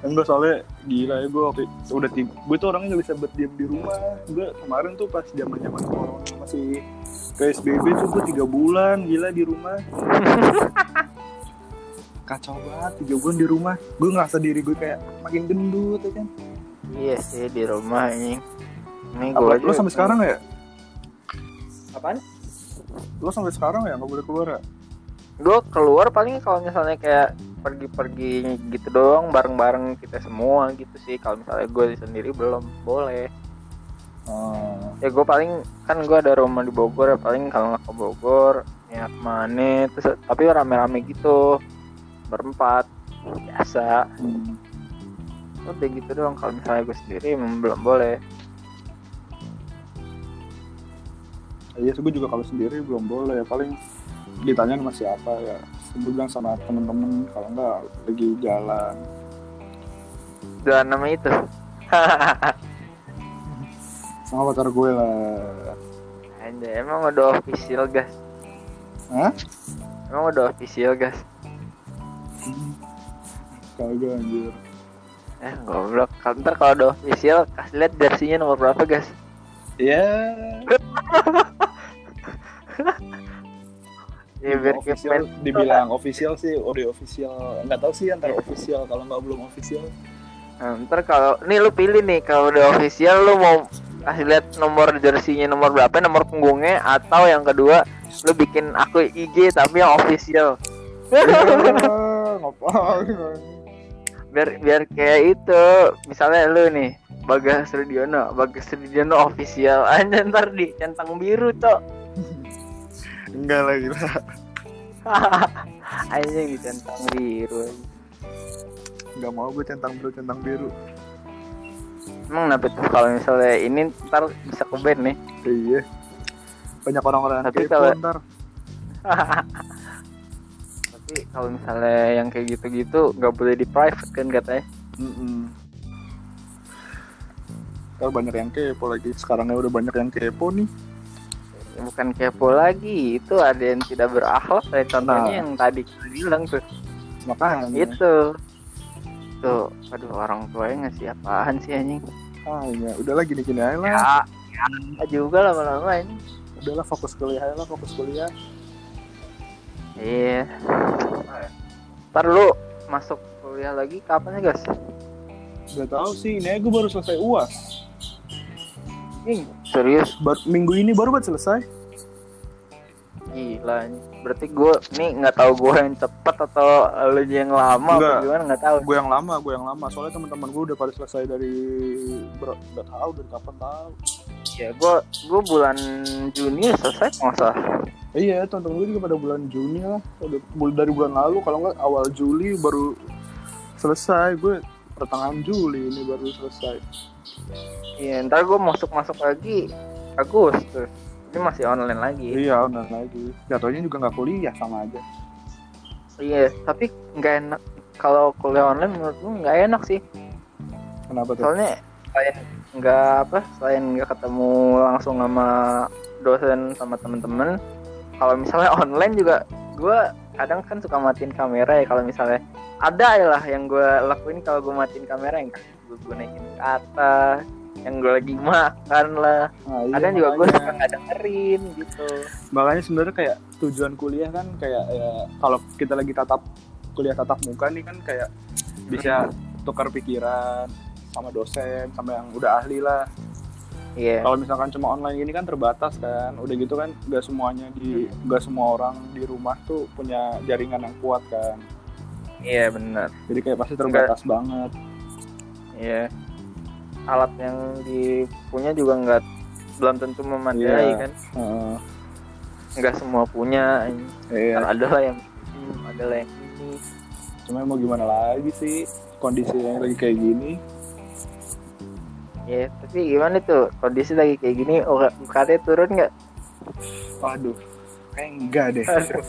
S2: Enggak soalnya gila ya gue waktu udah tim gue tuh orangnya nggak bisa berdiam di rumah gue kemarin tuh pas zaman zaman corona masih psbb tuh gue tiga bulan gila di rumah kacau banget tiga bulan di rumah gue ngerasa diri gue kayak makin gendut ya kan
S1: iya sih di rumah anjing ini
S2: Apa, lo sampai sekarang ya
S1: apaan
S2: lo sampai sekarang ya nggak boleh keluar ya
S1: gue keluar paling kalau misalnya kayak pergi-pergi gitu doang bareng-bareng kita semua gitu sih kalau misalnya gue sendiri belum boleh ya gue paling kan gue ada rumah di Bogor ya paling kalau nggak ke Bogor ya kemana terus tapi rame-rame gitu berempat biasa
S2: Hmm.
S1: udah gitu doang kalau misalnya gue sendiri emang belum boleh
S2: iya sih gue juga kalau sendiri belum boleh ya paling ditanya sama siapa ya gue bilang sama temen-temen kalau enggak lagi jalan
S1: jalan nama itu
S2: sama pacar gue lah
S1: Anjay, emang udah official gas
S2: Hah?
S1: emang udah official gas
S2: Kagak anjir
S1: eh goblok Kalau- ntar kalau udah official kasih lihat jersinya nomor berapa gas
S2: Ya
S1: ya biar kayak
S2: official, Dibilang official sih Ori official Nggak tahu sih antara official Kalau nggak belum official
S1: Nah, ntar kalau nih lu pilih nih kalau udah official lu mau kasih lihat nomor jersinya nomor berapa, nomor punggungnya atau yang kedua lu bikin aku IG tapi yang official. *laughs*
S2: Ngapain
S1: biar biar kayak itu. Misalnya lu nih Bagas Rudiono, Bagas Rudiono official *laughs* aja ntar di centang biru toh.
S2: Enggak lah gila
S1: *laughs* Anjing di centang biru.
S2: Nggak mau gue centang biru centang biru
S1: Emang kenapa tuh kalau misalnya ini ntar bisa ke band nih.
S2: Iya Banyak orang-orang yang
S1: Tapi
S2: kepo
S1: kalau-
S2: ntar
S1: Tapi kalau misalnya yang kayak gitu-gitu nggak boleh di private kan katanya.
S2: Mm-mm. Ntar banyak yang kepo lagi Sekarangnya udah banyak yang kepo nih
S1: Ya, bukan kepo lagi itu ada yang tidak berakhlak kayak contohnya
S2: Nah.
S1: yang tadi kita bilang tuh Iya.
S2: Makanya
S1: itu tuh aduh orang tuanya ngasih apaan sih anjing
S2: Makanya Udah lagi Ah, iya. gini-gini aja lah
S1: ya, ya juga lama-lama anjing
S2: Udah lah fokus kuliah aja lah Fokus kuliah
S1: iya ntar lu masuk kuliah lagi kapan ya guys
S2: Gak tau sih, ini aja gue baru selesai uas
S1: Ih, serius
S2: Bar- Minggu ini baru buat selesai
S1: gila anjing. berarti gue nih nggak tahu gue yang cepet atau lu yang lama
S2: Enggak.
S1: apa gimana nggak tahu
S2: Gue yang lama, gue yang lama Soalnya teman-teman gue udah pada selesai dari ber- Gak tau dari kapan tau
S1: ya gue gue bulan Juni ya selesai nggak salah
S2: Iya, teman-teman gue juga pada bulan Juni lah udah, bul- Dari bulan lalu, kalau nggak awal Juli baru selesai Gue pertengahan Juli ini baru selesai
S1: Iya, ntar gue masuk-masuk lagi Agustus. Ini masih online lagi.
S2: Iya, benar lagi Jatuhnya juga nggak kuliah sama aja
S1: Iya, tapi nggak enak kalau kuliah online menurut gue nggak enak sih.
S2: Kenapa tuh?
S1: Soalnya selain nggak apa, selain nggak ketemu langsung sama dosen sama temen-temen, kalau misalnya online juga gue kadang kan suka matiin kamera ya kalau misalnya ada ya lah yang gue lakuin kalau gue matiin kamera yang gue naikin ke atas yang gue lagi makan lah
S2: Nah, iya,
S1: kadang juga gue
S2: makanya.
S1: suka nggak dengerin gitu
S2: makanya sebenarnya kayak tujuan kuliah kan kayak ya, kalau kita lagi tatap kuliah tatap muka nih kan kayak bisa tukar pikiran sama dosen sama yang udah ahli lah
S1: iya
S2: kalau misalkan cuma online gini kan terbatas kan udah gitu kan gak semuanya di gak semua orang di rumah tuh punya jaringan yang kuat kan
S1: iya benar
S2: jadi kayak pasti terbatas banget
S1: iya alat yang dipunya juga nggak belum tentu memadai
S2: Iya.
S1: kan
S2: Heeh,
S1: nggak semua punya
S2: iya
S1: ada lah yang ini ada lah yang ini
S2: cuma mau gimana lagi sih kondisinya lagi kayak gini
S1: ya tapi gimana tuh kondisi lagi kayak gini UK- UKT turun nggak
S2: waduh kayak enggak deh
S1: Aduh.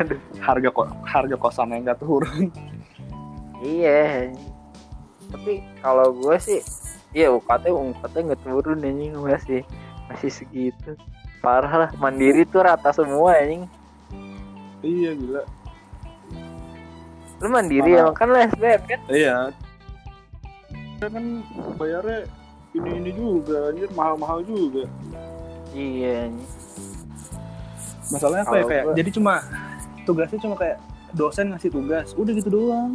S1: Aduh.
S2: harga ko- harga kosan yang enggak turun
S1: iya tapi kalau gue sih iya UKT UKT nggak turun anjing masih masih segitu parah lah mandiri tuh rata semua anjing
S2: iya gila
S1: lu mandiri
S2: Parah.
S1: emang kan lu SBM kan
S2: Iya. Kita kan bayarnya ini ini juga, anjir mahal-mahal juga.
S1: iya anjing.
S2: Masalahnya apa ya
S1: Kalau
S2: kayak
S1: gua-
S2: jadi cuma tugasnya cuma kayak dosen ngasih tugas, udah gitu doang.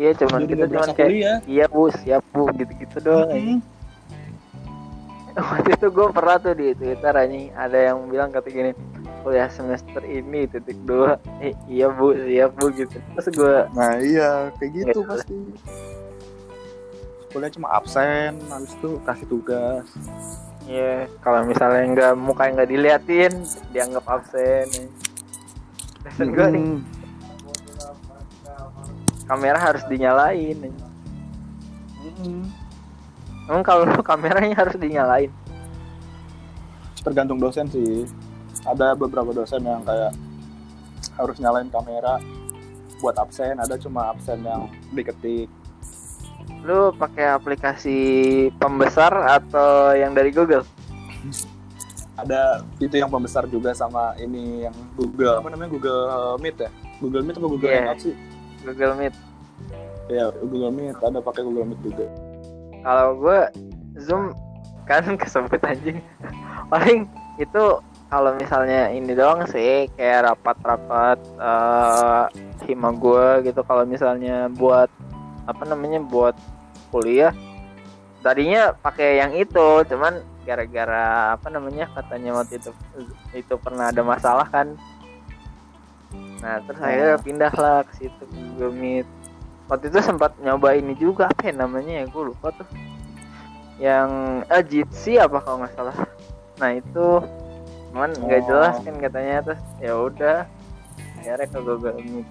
S1: iya cuman
S2: jadi
S1: kita
S2: nggak
S1: cuman
S2: berasa
S1: kayak
S2: kuliah.
S1: iya bu siap bu gitu gitu doang anjing.
S2: Mm-mm.
S1: *laughs* waktu itu gue pernah tuh di Twitter anjing ada yang bilang kata gini kuliah semester ini titik dua eh, iya bu iya bu gitu terus gue
S2: Nah iya kayak gitu
S1: Nggak.
S2: pasti. Kuliah cuma absen, habis itu kasih tugas.
S1: ya kalau misalnya nggak muka nggak diliatin dianggap absen Dosen gue nih
S2: Mm-mm.
S1: kamera harus dinyalain
S2: Mm-mm.
S1: emang kalau *laughs* lu kameranya harus dinyalain
S2: Tergantung dosen sih. Ada beberapa dosen yang kayak harus nyalain kamera buat absen, ada cuma absen yang diketik.
S1: lu pakai aplikasi pembesar atau yang dari Google
S2: ada itu yang pembesar juga sama ini yang Google apa namanya Google Meet ya Google Meet apa Google
S1: Iya.
S2: Hangout sih
S1: Google Meet
S2: ya Google Meet ada pakai Google Meet juga
S1: kalau gue zoom kan *laughs* kesempet anjing paling itu kalau misalnya ini doang sih kayak rapat-rapat eh hima gue gitu kalau misalnya buat apa namanya buat kuliah tadinya pakai yang itu cuman gara-gara apa namanya katanya waktu itu itu pernah ada masalah kan nah terus akhirnya pindahlah ke situ ke Google Meet waktu itu sempat nyoba ini juga apa ya namanya ya gue lupa tuh yang eh, Jitsi apa kalau nggak salah nah itu cuman nggak
S2: Oh.
S1: jelas kan katanya terus ya udah akhirnya ke Google Meet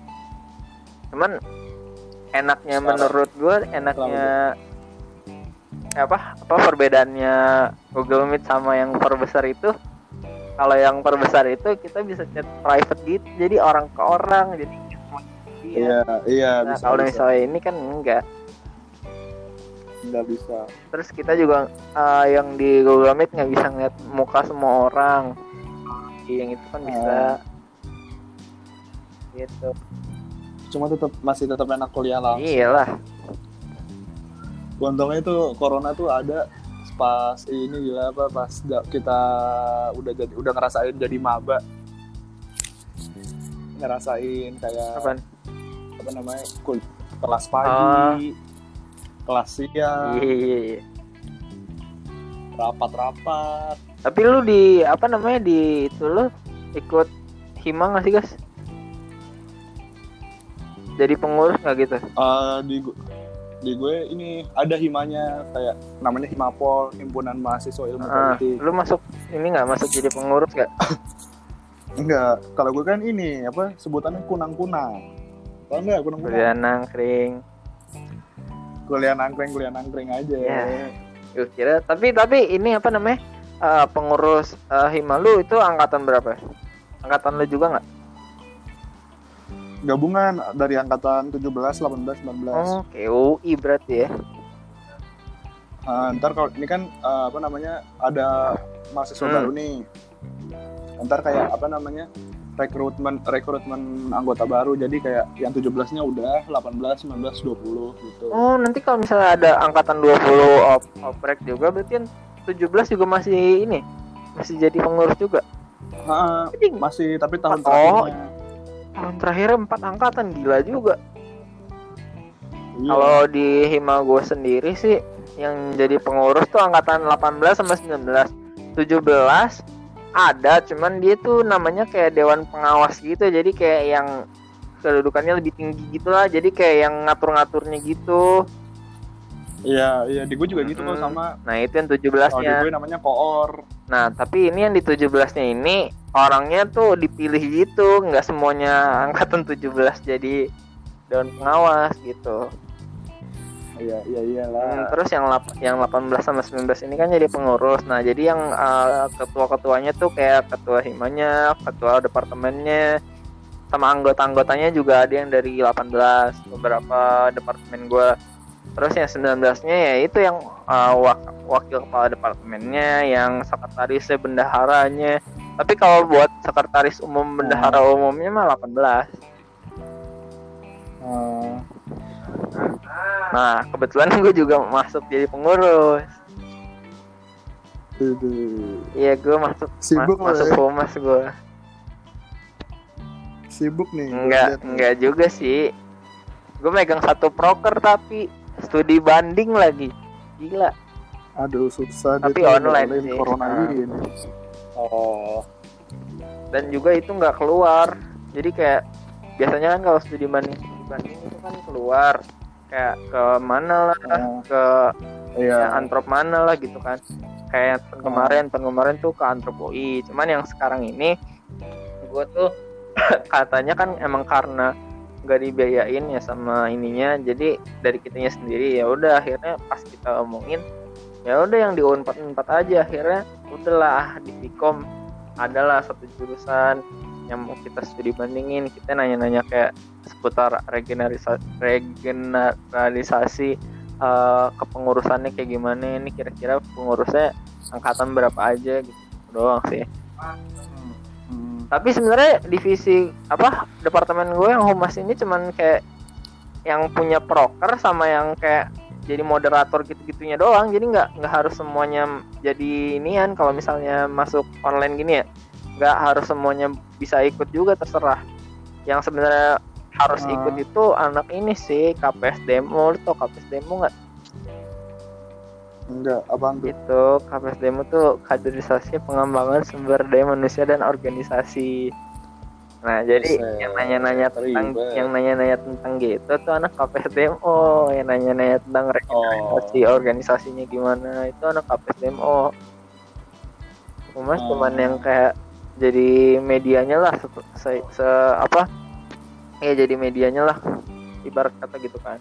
S1: cuman enaknya
S2: Sekarang-
S1: menurut gue enaknya apa apa perbedaannya Google Meet sama yang perbesar itu kalau yang perbesar itu kita bisa chat private gitu jadi orang ke orang jadi cuma dia.
S2: iya iya
S1: Nah,
S2: bisa
S1: kalau
S2: bisa
S1: misalnya ini kan enggak.
S2: nggak bisa
S1: Terus kita juga eh, yang di Google Meet nggak bisa ngeliat muka semua orang. Yang itu kan bisa. Gitu.
S2: cuma tetap masih tetap enak kuliah lah
S1: Iyalah.
S2: untungnya itu corona tuh ada pas ini gila apa pas da- kita udah jadi udah ngerasain jadi maba ngerasain kayak
S1: Apaan?
S2: apa namanya kul- kelas pagi kelas siang
S1: Ah. Iya, iya, iya.
S2: rapat-rapat
S1: Tapi lu di apa namanya di itu lu ikut hima nggak sih, guys? Jadi pengurus nggak gitu?
S2: Eh, di gu- di gue ini ada himanya kayak namanya himapol himpunan mahasiswa ilmu
S1: Ah,
S2: politik
S1: lu masuk ini nggak masuk jadi pengurus nggak?
S2: enggak kalau gue kan ini apa sebutannya kunang kunang tau enggak kunang kunang
S1: Kuliah nangkring.
S2: kuliah nangkring kuliah nangkring aja
S1: Iya. Gue kira tapi tapi ini apa namanya Eh, pengurus eh, hima lu itu angkatan berapa? Angkatan lu juga nggak?
S2: gabungan dari angkatan 17 18 19
S1: Oh, KUI berarti ya?
S2: Nah, ntar kalau ini kan eh, apa namanya ada mahasiswa
S1: Hmm.
S2: baru nih. Ntar kayak apa namanya rekrutmen rekrutmen anggota baru jadi kayak yang 17-nya udah 18, 19, 20 gitu.
S1: Oh, nanti kalau misalnya ada angkatan 20 op oprek juga berarti kan 17 juga masih ini masih jadi pengurus juga.
S2: Nah,
S1: Jadi
S2: masih tapi tahun
S1: Oh.
S2: terakhirnya.
S1: tahun terakhir empat angkatan gila juga.
S2: Iya.
S1: Kalau di Hima gue sendiri sih yang jadi pengurus tuh angkatan 18 sama 19. 17 ada cuman dia tuh namanya kayak dewan pengawas gitu jadi kayak yang kedudukannya lebih tinggi gitulah jadi kayak yang ngatur-ngaturnya gitu
S2: Iya, iya di gue juga gitu kok
S1: Mm-mm.
S2: sama
S1: nah itu yang
S2: kalau di
S1: 17-nya
S2: gue namanya koor.
S1: Nah, tapi ini yang di 17-nya ini orangnya tuh dipilih gitu, nggak semuanya angkatan 17 jadi daun pengawas gitu.
S2: Iya, iya
S1: Hmm,
S2: iyalah.
S1: terus yang lap- yang 18 sama 19 ini kan jadi pengurus. Nah, jadi yang eh, ketua-ketuanya tuh kayak ketua himanya, ketua departemennya, sama anggota-anggotanya juga ada yang dari 18 beberapa departemen gua. Terus yang 19-nya ya itu yang eh, wak- wakil kepala departemennya, yang sekretarisnya, bendaharanya. Tapi kalau buat sekretaris umum bendahara umumnya mah 18.
S2: Eh,
S1: Nah, kebetulan *laughs* gue juga masuk jadi pengurus.
S2: aduh.
S1: Iya, gue masuk
S2: Sibuk
S1: Mas-
S2: lo
S1: masuk
S2: ya.
S1: humas gue
S2: Sibuk nih. gua lihat
S1: enggak
S2: nih.
S1: enggak juga sih gue megang satu proker tapi studi banding lagi gila
S2: Aduh, susah
S1: Tapi
S2: dia tuh
S1: online
S2: ngadain
S1: sih.
S2: corona
S1: Ah.
S2: gini. Oh.
S1: dan juga itu nggak keluar jadi kayak biasanya kan kalau studi banding studi banding itu kan keluar kayak ke mana lah
S2: Ah.
S1: ke
S2: Iya.
S1: antrop mana lah gitu kan kayak tahun kemarin tahun kemarin tuh ke antrop UI cuman yang sekarang ini gue tuh *clears throat* katanya kan emang karena nggak dibiayain ya sama ininya jadi dari kitanya sendiri ya udah akhirnya pas kita omongin ya udah yang di U44 aja akhirnya udahlah di Vkom adalah satu jurusan yang mau kita studi bandingin kita nanya-nanya kayak seputar regenerisa- regeneralisasi eh, kepengurusannya kayak gimana ini kira-kira pengurusnya angkatan berapa aja gitu doang sih
S2: Hmm.
S1: tapi sebenarnya divisi apa departemen gue yang humas ini cuman kayak yang punya proker sama yang kayak jadi moderator gitu-gitunya doang jadi nggak nggak harus semuanya jadi inian kalau misalnya masuk online gini ya nggak harus semuanya bisa ikut juga terserah yang sebenarnya harus
S2: Hmm.
S1: ikut itu anak ini sih KPS demo atau KPS demo nggak
S2: Enggak, abang tuh.
S1: itu KPS gitu. demo tuh kaderisasi pengembangan sumber daya manusia dan organisasi nah jadi
S2: Buset,
S1: yang nanya-nanya tentang
S2: ribet.
S1: yang nanya-nanya tentang gitu tuh anak KPS demo yang nanya-nanya tentang regenerasi organisasinya gimana itu anak KPS demo cuma
S2: Hmm.
S1: cuman yang kayak jadi medianya lah se, se- se- apa ya jadi medianya lah ibarat kata gitu kan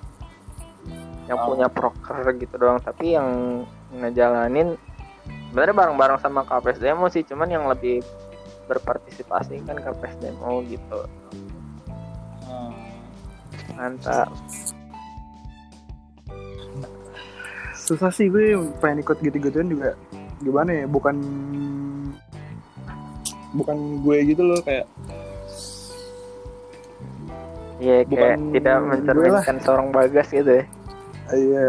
S1: yang
S2: Oh.
S1: punya proker gitu doang tapi yang ngejalanin sebenarnya bareng-bareng sama KPS demo sih cuman yang lebih berpartisipasi kan KPS demo gitu mantap
S2: Susah sih gue pengen ikut gitu-gituan juga. Gimana ya? Bukan bukan gue gitu loh kayak
S1: iya kayak
S2: Bukan
S1: tidak
S2: gue
S1: mencerminkan seorang bagas gitu ya
S2: iya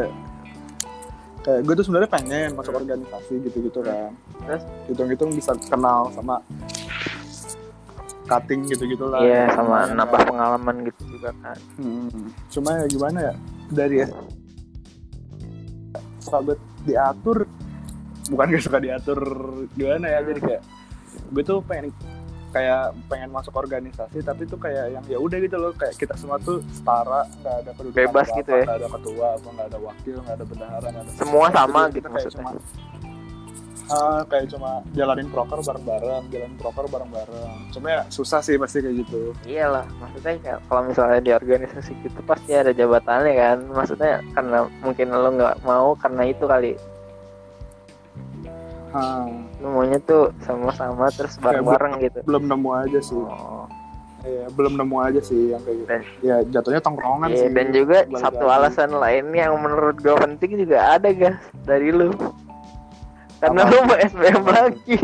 S2: kayak gue tuh sebenarnya pengen masuk organisasi gitu-gitu kan.
S1: Terus?
S2: hitung-hitung bisa kenal sama cutting gitu-gitu lah.
S1: iya sama
S2: Lumayan
S1: nambah
S2: lah.
S1: pengalaman gitu juga kan
S2: Hmm. Cuma ya gimana ya? Dari suka banget diatur bukan gak suka diatur gimana ya jadi kayak gue tuh pengen kayak pengen masuk organisasi tapi tuh kayak yang ya udah gitu loh kayak kita semua tuh setara nggak ada kedudukan
S1: Bebas
S2: apa-apa,
S1: gitu ya.
S2: nggak ada ketua apa nggak ada wakil nggak ada bendahara nggak ada
S1: Semua sama gitu
S2: Jadi kita kayak
S1: maksudnya.
S2: cuma, ah, kayak cuma jalanin proker bareng-bareng jalanin proker bareng-bareng cuma ya susah sih pasti kayak gitu
S1: iyalah maksudnya kayak kalau misalnya di organisasi gitu pasti ada jabatannya kan maksudnya karena mungkin lo nggak mau karena itu kali
S2: Ah,
S1: lo maunya tuh sama-sama terus bareng-bareng gitu
S2: belum nemu aja sih
S1: oh
S2: Iya, belum nemu aja sih yang kayak gitu.
S1: Dan-
S2: ya jatuhnya tongkrongan
S1: Eh. Iya,
S2: sih.
S1: dan juga
S2: Balik
S1: satu
S2: lagi.
S1: alasan lain yang menurut gue penting juga ada gas dari lu karena
S2: Apa?
S1: lu mau SBM lagi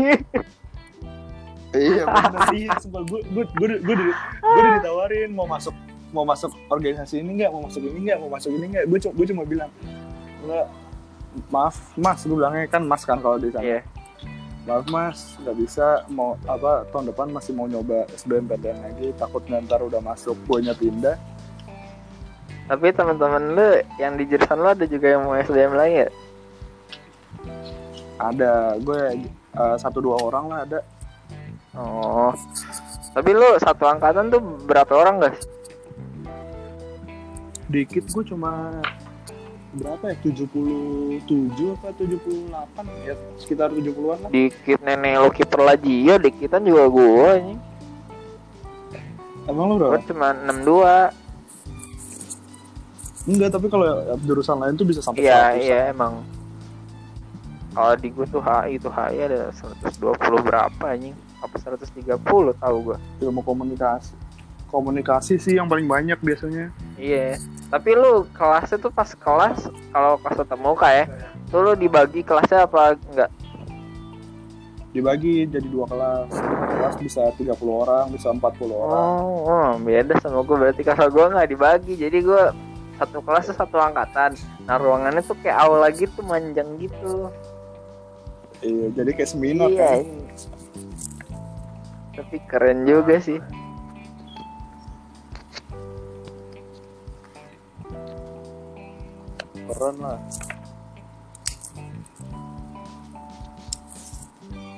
S3: iya
S2: bener *laughs* iya sumpah gue gue gue gue di- gue udah ditawarin mau masuk mau masuk organisasi ini nggak mau masuk ini nggak mau masuk ini nggak gue cuma gue cuma bilang enggak maaf mas gue bilangnya kan mas kan kalau di sana
S1: Iya.
S2: maaf mas nggak bisa mau apa tahun depan masih mau nyoba SBMPTN lagi takut nanti udah masuk guanya pindah
S1: Tapi teman-teman lu yang di jurusan lu ada juga yang mau SBM lagi ya?
S2: ada gue eh, satu dua orang lah ada
S1: Oh. Tapi lu satu angkatan tuh berapa orang guys?
S2: dikit gue cuma berapa ya 77 apa 78 ya sekitar 70-an lah
S1: Dikit nenek lo kiper lagi ya, dikitan juga gua ini.
S2: emang lu berapa?
S1: Gua cuma 62.
S2: Enggak, tapi kalau jurusan lain tuh bisa sampai
S1: Iya,
S2: 100.
S1: iya emang. Kalau di gua tuh HI tuh HI ada 120 berapa anjing? Apa 130 tahu gua.
S2: Ilmu komunikasi. Komunikasi sih yang paling banyak biasanya.
S1: Iya. Tapi lu kelasnya tuh pas kelas kalau kelas tetap muka ya. Tuh lu dibagi kelasnya apa enggak?
S2: Dibagi jadi dua kelas. Satu kelas bisa 30 orang, bisa 40 orang.
S1: Oh, oh, beda sama gue berarti kalau gue nggak dibagi jadi gue satu kelas tuh satu angkatan nah ruangannya tuh kayak aula gitu manjang gitu
S2: Iya, jadi kayak seminar kan.
S1: Oh. iya tapi keren juga sih
S2: Keren lah.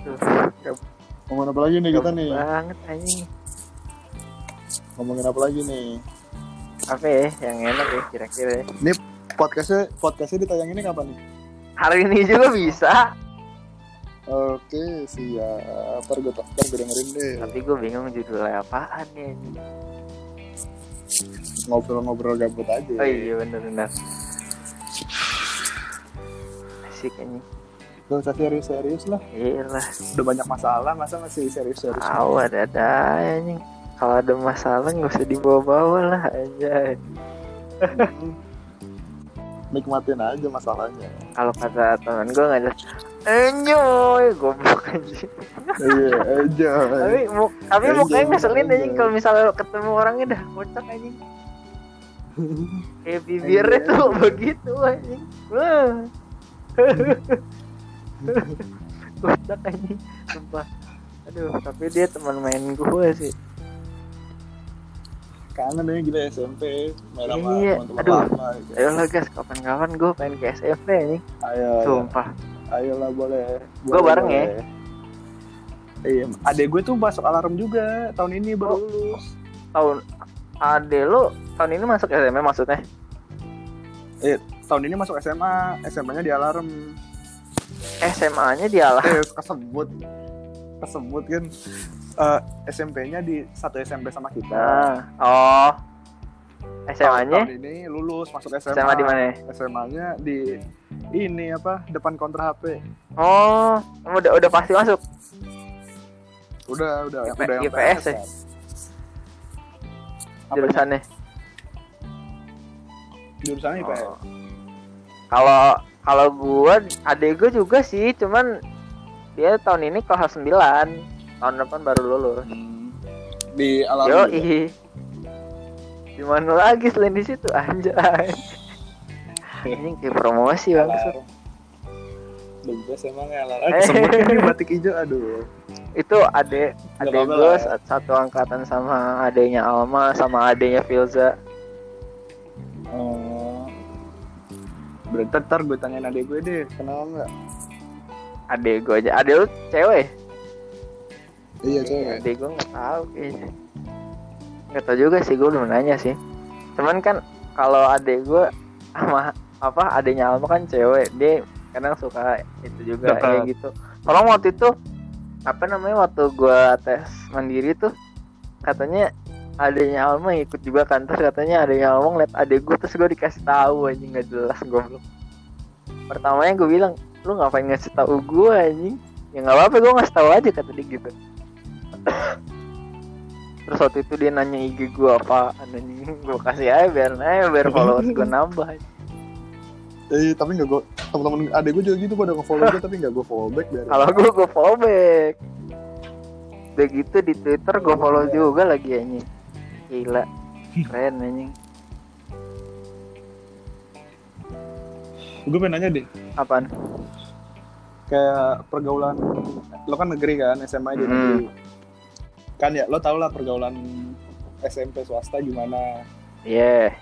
S1: Tuh,
S2: Ngomongin apa lagi nih kita gitu nih?
S1: banget anjing
S2: Ngomongin apa lagi nih?
S1: apa ya yang enak ya kira-kira ya.
S2: Podcastnya, podcastnya ditayanginnya kapan nih?
S1: hari ini juga bisa
S2: Oke, siap. Ntar gue, ntar gue dengerin deh.
S1: tapi gue bingung judulnya apaan ya anjing.
S2: Ngobrol-ngobrol gabut aja.
S1: oh iya bener-bener asik anjing
S2: Gak usah serius-serius lah.
S1: iya lah
S2: Udah banyak masalah, masa masih serius-serius?
S1: Tahu ada ada anjing. Kalau ada masalah nggak usah dibawa-bawa lah aja.
S2: Nikmatin aja masalahnya. *laughs*
S1: Kalau kata teman gue nggak ada enjoy goblok anjing.
S2: Iya, aja.
S1: Tapi mu- tapi
S2: Enjoy,
S1: mukanya ngeselin anjing
S2: enjoy.
S1: kalau misalnya ketemu orangnya dah kocak anjing. Kayak bibirnya
S2: Enjoy,
S1: tuh
S2: enjoy.
S1: begitu anjing. Wah. *laughs* kocak anjing. Sumpah. Aduh, tapi dia teman main gue sih.
S2: *laughs* Kangen ya gila SMP main sama
S1: Iya,
S2: teman-teman
S1: aduh.
S2: lama. gitu.
S1: Ayo lah guys, kapan-kapan gue main ke SMP anjing.
S2: Ayo,
S1: Sumpah.
S2: ayo lah boleh.
S1: Gua
S2: Boleh,
S1: bareng ya.
S2: boleh. Iya, adek gue tuh masuk alarm juga tahun ini baru
S1: Oh.
S2: lulus.
S1: tahun ade lu tahun ini masuk SMA maksudnya
S2: Eh, Tahun ini masuk SMA, SMA-nya di alarm.
S1: SMA-nya dia lah
S2: Eh, *laughs* kesebut, kesebut kan. Eh, SMP-nya di satu SMP sama kita.
S1: nah. oh
S2: Tahun
S1: SMA-nya
S2: ini lulus masuk SMA.
S1: SMA di mana
S2: SMA-nya di ini apa depan kontra HP.
S1: oh udah udah pasti masuk
S2: Udah, udah,
S1: IP-
S2: udah yang
S1: IPS ya?
S2: kan. Apa
S1: jurusannya
S2: jurusannya IPS.
S1: Oh. kalau kalau gua adek gua juga sih cuman dia tahun ini kelas 9 tahun depan baru lulus
S2: Hmm. Di alam
S1: yo
S2: juga.
S1: ih di mana lagi selain di situ anjay ini kayak promosi banget
S2: Alarm. The best emang ya alarm.
S1: Eh.
S2: Eh, sempet ini batik hijau aduh.
S1: itu adek
S2: Nggak
S1: adek
S2: apa-apa
S1: gue
S2: lah. ya.
S1: sa- satu angkatan sama adeknya Alma sama adeknya Filza
S2: Oh. Berarti ntar gue tanyain adek gue deh, kenal nggak?
S1: adek gue aja adek lu cewek
S2: Iya
S1: adek gue nggak tahu kayaknya nggak tahu juga sih gue belum nanya sih cuman kan kalau adek gue sama apa adeknya Alma kan cewek dia kadang suka itu juga
S2: Tetap.
S1: kayak gitu kalau waktu itu apa namanya waktu gue tes mandiri tuh katanya adanya Alma ikut juga kan terus katanya adanya Alma ngeliat adek gue terus gue dikasih tahu anjing nggak jelas goblok pertamanya gue bilang lu ngapain ngasih tahu gue anjing ya nggak apa-apa gue ngasih tahu aja kata dia gitu *laughs* terus waktu itu dia nanya IG gue apa anjing *laughs* gue kasih aja biar aja biar followers gue
S2: *laughs*
S1: nambah
S2: Eh, tapi nggak gue, temen-temen adek gue juga gitu pada nge-follow gue tapi nggak gue follow back dari.
S1: kalau gue gue fallback Udah gitu di Twitter gue follow juga lagi anjing. Gila. Keren anjing.
S2: Gue pengen nanya deh,
S1: Apaan?
S2: kayak pergaulan lo kan negeri kan SMA di
S1: Hmm.
S2: negeri kan ya lo tau lah pergaulan SMP swasta gimana
S1: Yeah.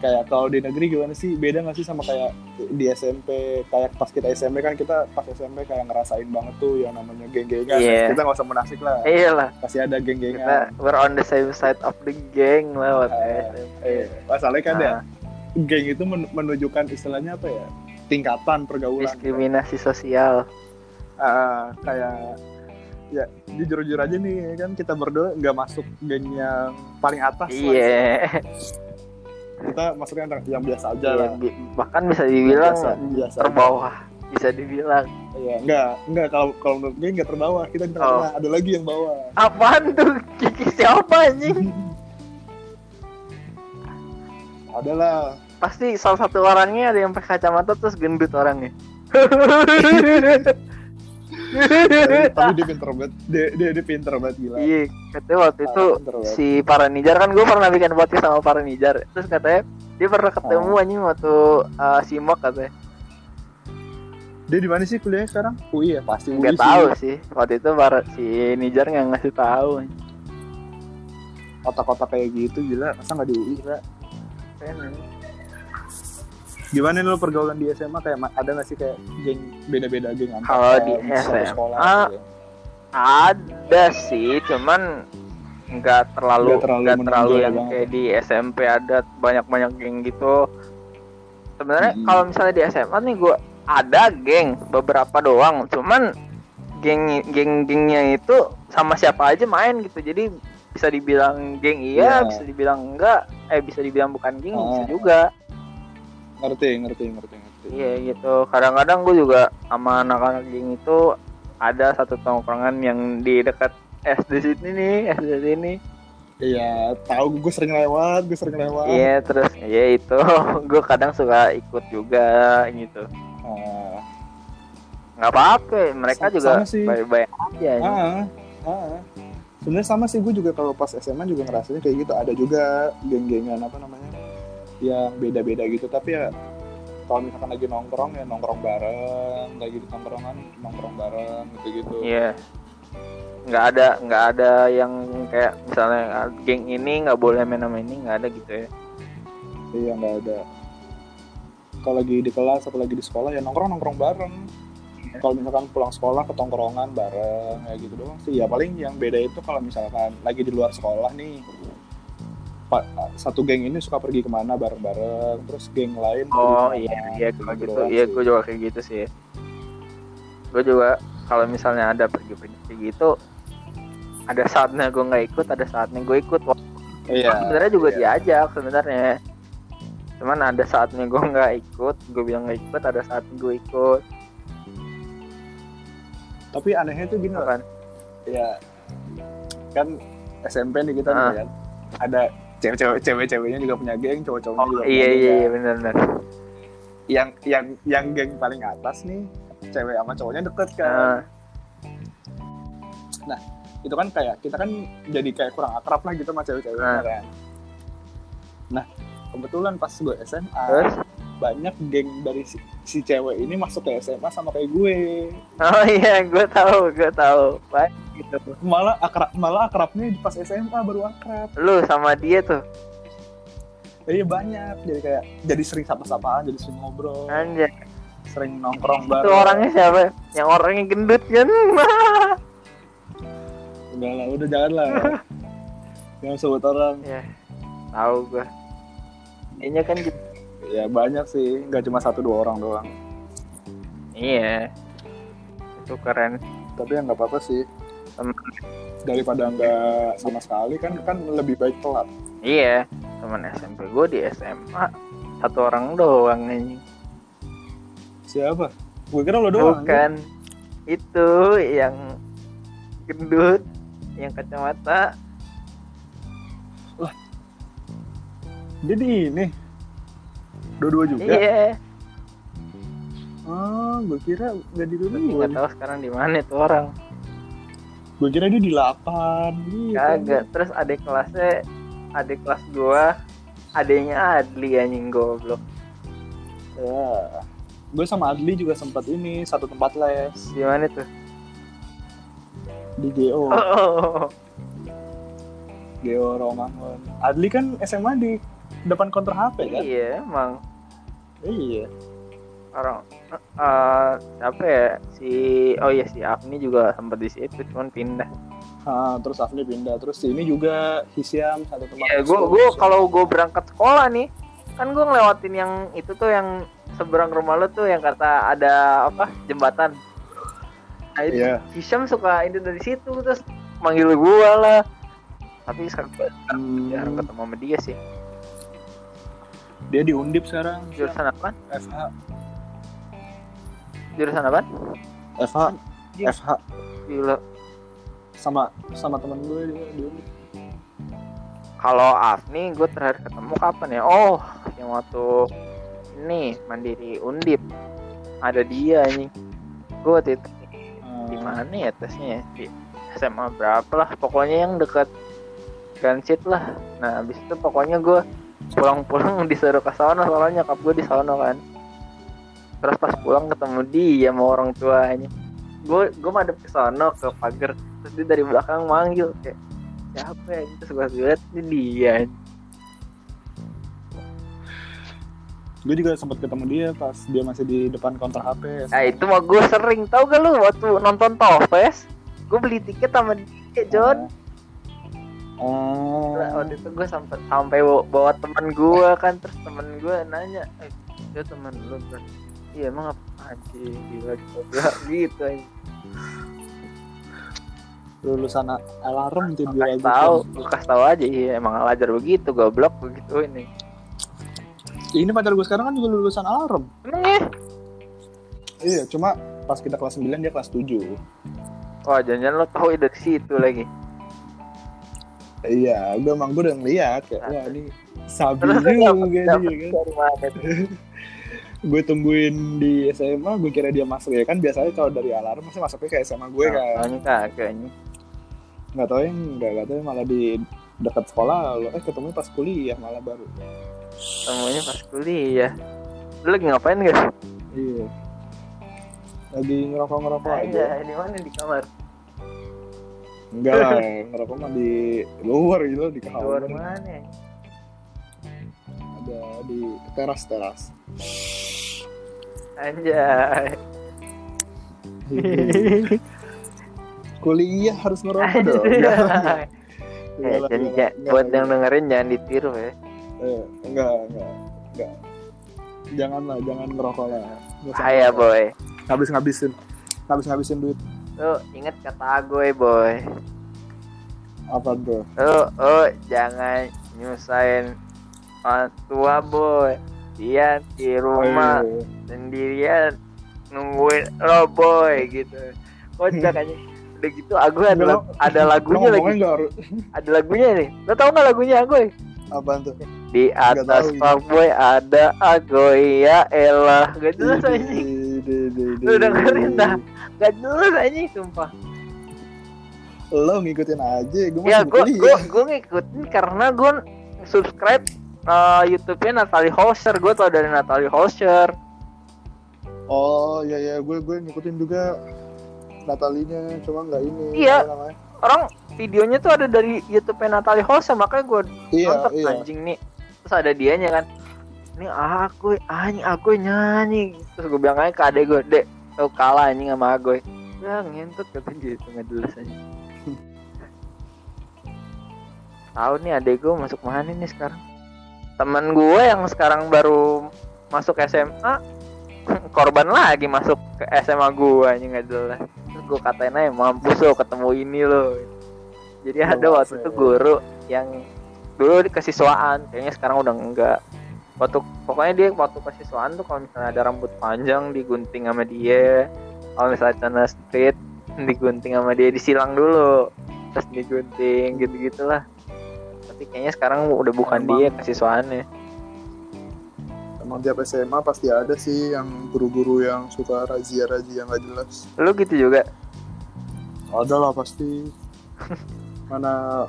S2: kayak kalau di negeri gimana sih beda nggak sih sama kayak di SMP kayak pas kita SMP kan kita pas SMP kayak ngerasain banget tuh yang namanya geng-gengan
S1: Iya.
S2: kita nggak usah munafik lah
S1: Eh, Iyalah,
S2: pasti ada geng-gengan
S1: kita we're on the same side of the gang lah waktu
S2: Ah,
S1: SMP.
S2: eh, masalahnya kan ya
S1: Nah,
S2: geng itu men- menunjukkan istilahnya apa ya tingkatan pergaulan
S1: diskriminasi sosial.
S2: Ah, kayak ya jujur-jujur aja nih kan kita berdua nggak masuk geng yang paling atas lah.
S1: Iya.
S2: kita masuknya yang, yang biasa aja kan. lah
S1: Iya, bi- Bahkan bisa
S2: Yang
S1: dibilang
S2: biasa, biasa
S1: terbawah. Bisa dibilang.
S2: Iya, nggak nggak kalau kalau menurut gue nggak terbawah kita di tengah-tengah.
S1: Oh.
S2: ada lagi yang bawah
S1: Apaan tuh? Kiki siapa anjing?
S2: adalah
S1: Pasti salah satu orangnya ada yang pakai kacamata terus gendut orangnya. *laughs*
S2: tapi dia pinter banget dia dia, dia pinter banget gila
S1: Iya, katanya waktu itu
S2: Ah, pinter banget.
S1: si Paranijar kan gue pernah bikin podcast sama Paranijar. Terus katanya dia pernah ketemu
S2: Ah.
S1: anjing waktu uh, Simok katanya.
S2: dia di mana sih kuliahnya sekarang UI ya pasti UI
S1: Gak
S2: sih.
S1: tahu sih. Waktu itu baru si Nijar nggak ngasih tahu.
S2: kota-kota kayak gitu gila masa nggak di UI gila
S1: Keren, anjing.
S2: gimana lo pergaulan di SMA kayak ma- ada nggak sih kayak geng beda-beda geng antar
S1: Kalau di
S2: kayak satu
S1: SMA,
S2: sekolah gitu ya?
S1: Ada sih, cuman nggak terlalu
S2: Nggak terlalu
S1: nggak terlalu,
S2: menonjol ya,
S1: yang
S2: banget.
S1: kayak di SMP ada banyak-banyak geng gitu. Sebenarnya
S2: Mm-mm.
S1: kalau misalnya di SMA nih gue ada geng beberapa doang, cuman geng geng gengnya itu sama siapa aja main gitu. Jadi bisa dibilang geng iya,
S2: Iya.
S1: bisa dibilang enggak, eh bisa dibilang bukan geng bisa
S2: Ah.
S1: juga.
S2: ngerti ngerti ngerti ngerti
S1: Iya gitu. Kadang-kadang gue juga sama anak-anak geng itu ada satu tongkrongan yang di dekat SD sini nih, SD sini.
S2: iya tahu gue sering lewat gue sering lewat
S1: Iya terus ya itu *laughs* gue kadang suka ikut juga gitu.
S2: Ah,
S1: Nggak apa-apa, mereka
S2: Sama-
S1: juga
S2: sama sih.
S1: baik-baik aja.
S2: ah, ah. sebenarnya sama sih gue juga kalau pas SMA juga ngerasain kayak gitu ada juga geng-gengan apa namanya yang beda-beda gitu tapi ya kalau misalkan lagi nongkrong ya nongkrong bareng lagi di tongkrongan nongkrong bareng gitu-gitu
S1: Iya. Nggak ada nggak ada yang kayak misalnya ah, geng ini nggak boleh main sama ini nggak ada gitu ya.
S2: Iya nggak ada. Kalau lagi di kelas atau lagi di sekolah ya nongkrong nongkrong bareng.
S1: Iya.
S2: Kalau misalkan pulang sekolah ke tongkrongan bareng ya gitu doang sih. Ya paling yang beda itu kalau misalkan lagi di luar sekolah nih. Pa- satu geng ini suka pergi kemana bareng-bareng, terus geng lain pergi
S1: Oh
S2: kemana,
S1: iya iya kalau
S2: gitu
S1: gitu
S2: doang
S1: iya
S2: sih.
S1: gue juga kayak gitu sih. Gue juga kalau misalnya ada pergi-pergi kayak gitu ada saatnya gue nggak ikut ada saatnya gue ikut walaupun
S2: Iya.
S1: sebenarnya juga
S2: iya.
S1: diajak sebenarnya cuman ada saatnya gue nggak ikut gue bilang nggak ikut ada saatnya gue ikut
S2: Tapi anehnya tuh gini loh.
S1: kan
S2: Ya kan SMP nih kita
S1: Ah.
S2: nih kan. Ada cewek-cewek cewek-ceweknya juga punya geng, cowok-cowoknya
S1: oh
S2: juga
S1: iya
S2: punya
S1: iya
S2: geng.
S1: iya benar benar
S2: yang yang yang
S1: Hmm.
S2: geng paling atas nih cewek sama cowoknya deket
S1: Ah,
S2: kan itu kan kayak kita kan jadi kayak kurang akrab lah gitu sama cewek-cewek
S1: Ah.
S2: kan nah kebetulan pas gue SMA
S1: terus
S2: banyak geng dari si, si cewek ini masuk ke SMA sama kayak gue
S1: oh *laughs* iya gue tahu gue tahu baik gitu
S2: malah akrab malah akrabnya di pas SMA baru akrab
S1: lu sama dia tuh
S2: jadi banyak jadi kayak jadi sering sapa-sapaan jadi sering ngobrol
S1: anjir
S2: sering
S1: Eh.
S2: nongkrong
S1: itu
S2: bareng
S1: orangnya siapa yang orangnya gendut kan *laughs*
S2: udah lah udah jangan lah jangan sebut orang
S1: ya tahu gue kayaknya kan gitu.
S2: ya banyak sih nggak cuma satu dua orang doang
S1: iya itu keren
S2: tapi ya nggak apa-apa sih
S1: Em.
S2: daripada nggak sama sekali kan kan lebih baik telat
S1: iya teman SMP gue di SMA satu orang doang anjing
S2: siapa gue kira lo doang kan? ya?
S1: bukan itu yang gendut yang kacamata
S2: jadi ini dua-dua juga
S1: iya
S2: oh gue kira nggak di
S1: tapi nggak
S2: dua-dua
S1: tahu sekarang di mana itu orang
S2: gue kira dia di 8 gitu.
S1: Kagak. Terus adik kelasnya adik kelas gua adiknya Adli anjing goblok.
S2: Ya. Gue sama Adli juga sempat ini satu tempat les
S1: Di mana tuh?
S2: di
S1: Oh,
S2: GO,
S1: oh, oh.
S2: GO Romangun. Adli kan SMA di depan konter HP
S1: *laughs*
S2: kan?
S1: Iya, emang
S2: Iya.
S1: orang eh, apa ya si oh iya si Afni juga sempat di situ cuman pindah.
S2: Ah, terus Afni pindah, terus si ini juga Hisiam satu tempat.
S1: Iya,
S2: les
S1: gua
S2: juga,
S1: gua
S2: Hisiam.
S1: kalau gua berangkat sekolah nih kan gua ngelewatin yang itu tuh yang seberang rumah lu tuh yang kata ada apa jembatan. Nah, itu
S2: Iya.
S1: Hisham suka itu dari situ terus manggil gua lah. Tapi sekarang gua jarang
S2: Hmm,
S1: ketemu sama dia sih.
S2: dia diundip sekarang. Hisiam.
S1: Jurusan apa?
S2: FH.
S1: Jurusan apa?
S2: FH.
S1: Iya.
S2: FH
S1: Gila.
S2: sama sama teman gue dia diundip.
S1: Kalau Afni gue terakhir ketemu kapan ya? Oh, yang waktu ini mandiri undip ada dia nih. Gue waktu itu
S2: Ah,
S1: di mana ya tesnya ya? Di SMA berapa lah? Pokoknya yang dekat Gansit lah. Nah, abis itu pokoknya gue pulang-pulang *laughs* disuruh ke sana soalnya nyokap gue di sana kan. Terus pas pulang ketemu dia sama orang tuanya. Gue gue madep ke sana ke pagar. Terus dia dari belakang manggil kayak siapa ya? Terus gue lihat ini dia.
S2: Gue juga sempat ketemu dia pas dia masih di depan konter HP.
S1: Nah itu mah gue sering tau gak lu waktu nonton Topes Gue beli tiket sama dia John
S2: Oh.
S1: Nah, waktu itu gue sampai sampai bawa, bawa teman gue kan terus teman gue nanya eh dia teman lu kan iya emang apa aja gila gila *laughs* gitu aja
S2: lulusan a- alarm tuh
S1: kasih
S2: dia gitu.
S1: tahu gue kasih tahu aja iya emang alajar begitu goblok begitu ini
S2: Ini pacar gue sekarang kan juga lulusan alarm.
S1: emang ya
S2: Iya, cuma pas kita kelas 9 dia kelas 7.
S1: wah jangan lo tahu dari situ
S2: *laughs*
S1: lagi
S2: Iya, gue emang gue udah ngeliat kayak wah ini sabi
S1: Nah. Terus
S2: Iya juga
S1: lu
S2: dia
S1: dapet
S2: kan.
S1: dari mana tuh?
S2: Gue tungguin di SMA, gue kira dia masuk ya kan biasanya kalau dari alarm pasti masuknya ke SMA gue kan.
S1: Nah, ini kagak ini
S2: Nggak tahu yang nggak nggak tahu malah di dekat sekolah lo eh ketemu pas kuliah malah baru.
S1: temunya pas kuliah lu lagi ngapain gak?
S2: Iya. Lagi ngerokok-ngerokok aja.
S1: Aja, Iya, di mana di kamar?
S2: Enggak lah, ngerokok mah di luar gitu di
S1: Di luar
S2: kamar.
S1: mana?
S2: ada di
S1: *laughs*
S2: teras-teras.
S1: Anjay.
S2: Kuliah harus ngerokok dong. *laughs*
S1: Anjay.
S2: Enggak
S1: Ya, iya.
S2: Iya lah, iya.
S1: jadi
S2: enggak
S1: ja-
S2: lah, enggak
S1: buat
S2: lah,
S1: yang dengerin jangan ditiru ya.
S2: eh, enggak, enggak, enggak. Janganlah, jangan ngerokok lah. Nggak usah
S1: Bahaya
S2: ngerokok.
S1: boy.
S2: Ngabis-ngabisin, ngabis-ngabisin duit
S1: Lu inget kata gue boy.
S2: apa bro?
S1: Lu oh, jangan nyusahin orang tua boy. Dia di rumah
S2: Eh,
S1: sendirian nungguin lo boy gitu.
S2: *laughs*
S1: Kocak aja. Udah gitu aku ada
S2: Lu-
S1: lag- ada
S2: lu
S1: lagunya
S2: ngomongnya
S1: lagi.
S2: enggak harus
S1: Ada lagunya nih. Lo tau gak lagunya Agoy?
S2: apaan tuh?
S1: Di
S2: Nggak
S1: atas
S2: tahu, iya.
S1: fuckboy ada Agoy ya elah. Gak jelas
S2: iya,
S1: anjing. Lu dengerin dah. Gak jelas anjing sumpah.
S2: Lo ngikutin aja, gue
S1: Ya
S2: masih
S1: gue gue
S2: kuliah.
S1: gue ngikutin karena gue subscribe eh, YouTube-nya Natalie Holscher. Gue tau dari Natalie Holscher.
S2: Oh, iya iya, gue gue ngikutin juga Natalinya, cuma enggak ini.
S1: Iya.
S2: apa namanya?
S1: Orang videonya tuh ada dari YouTube-nya Natalie Holscher, makanya gue
S2: Iya,
S1: nonton
S2: iya.
S1: anjing nih. Terus ada dianya kan. Ini aku, anjing aku nyanyi. Terus gue bilang aja ke adek gue, "Dek, lo kalah anjing sama aku." Ya ngentut kata gitu nggak jelas aja.
S2: *laughs*
S1: Tahu nih adek gue masuk mana nih sekarang? Temen gue yang sekarang baru masuk SMA *laughs* korban lagi masuk ke SMA gue anjing nggak jelas. Terus gue katain aja mampus lo ketemu ini lo. Jadi ada waktu itu guru yang dulu di kesiswaan kayaknya sekarang udah enggak waktu pokoknya dia waktu kesiswaan tuh kalau misalnya ada rambut panjang digunting sama dia kalau misalnya celana street digunting sama dia disilang dulu terus digunting gitu gitulah tapi kayaknya sekarang udah bukan
S2: Emang.
S1: dia kesiswaannya
S2: Emang tiap SMA pasti ada sih yang guru-guru yang suka razia-razia nggak jelas.
S1: lu gitu juga
S2: Ada lah pasti. Mana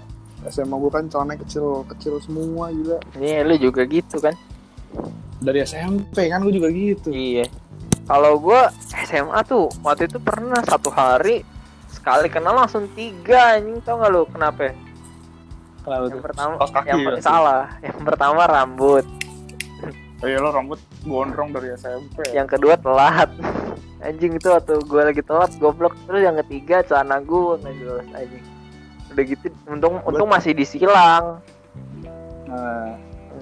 S2: SMA gue kan celananya kecil kecil semua gila.
S1: Ini lu juga gitu kan?
S2: Dari SMP kan gue juga gitu.
S1: Iya. Kalau gua SMA tuh waktu itu pernah satu hari sekali kenal langsung tiga anjing tau gak lu kenapa? ya?
S2: Kenapa
S1: Yang
S2: tup?
S1: pertama
S2: Kaos kaki
S1: yang
S2: ya?
S1: per- salah. Yang pertama rambut,
S2: Oh iya lo rambut gondrong dari SMP. ya?
S1: yang kedua telat. *laughs* Anjing itu waktu gua lagi telat goblok terus yang ketiga celana gua nggak jelas anjing. Udah gitu untung untung masih disilang.
S2: Nah,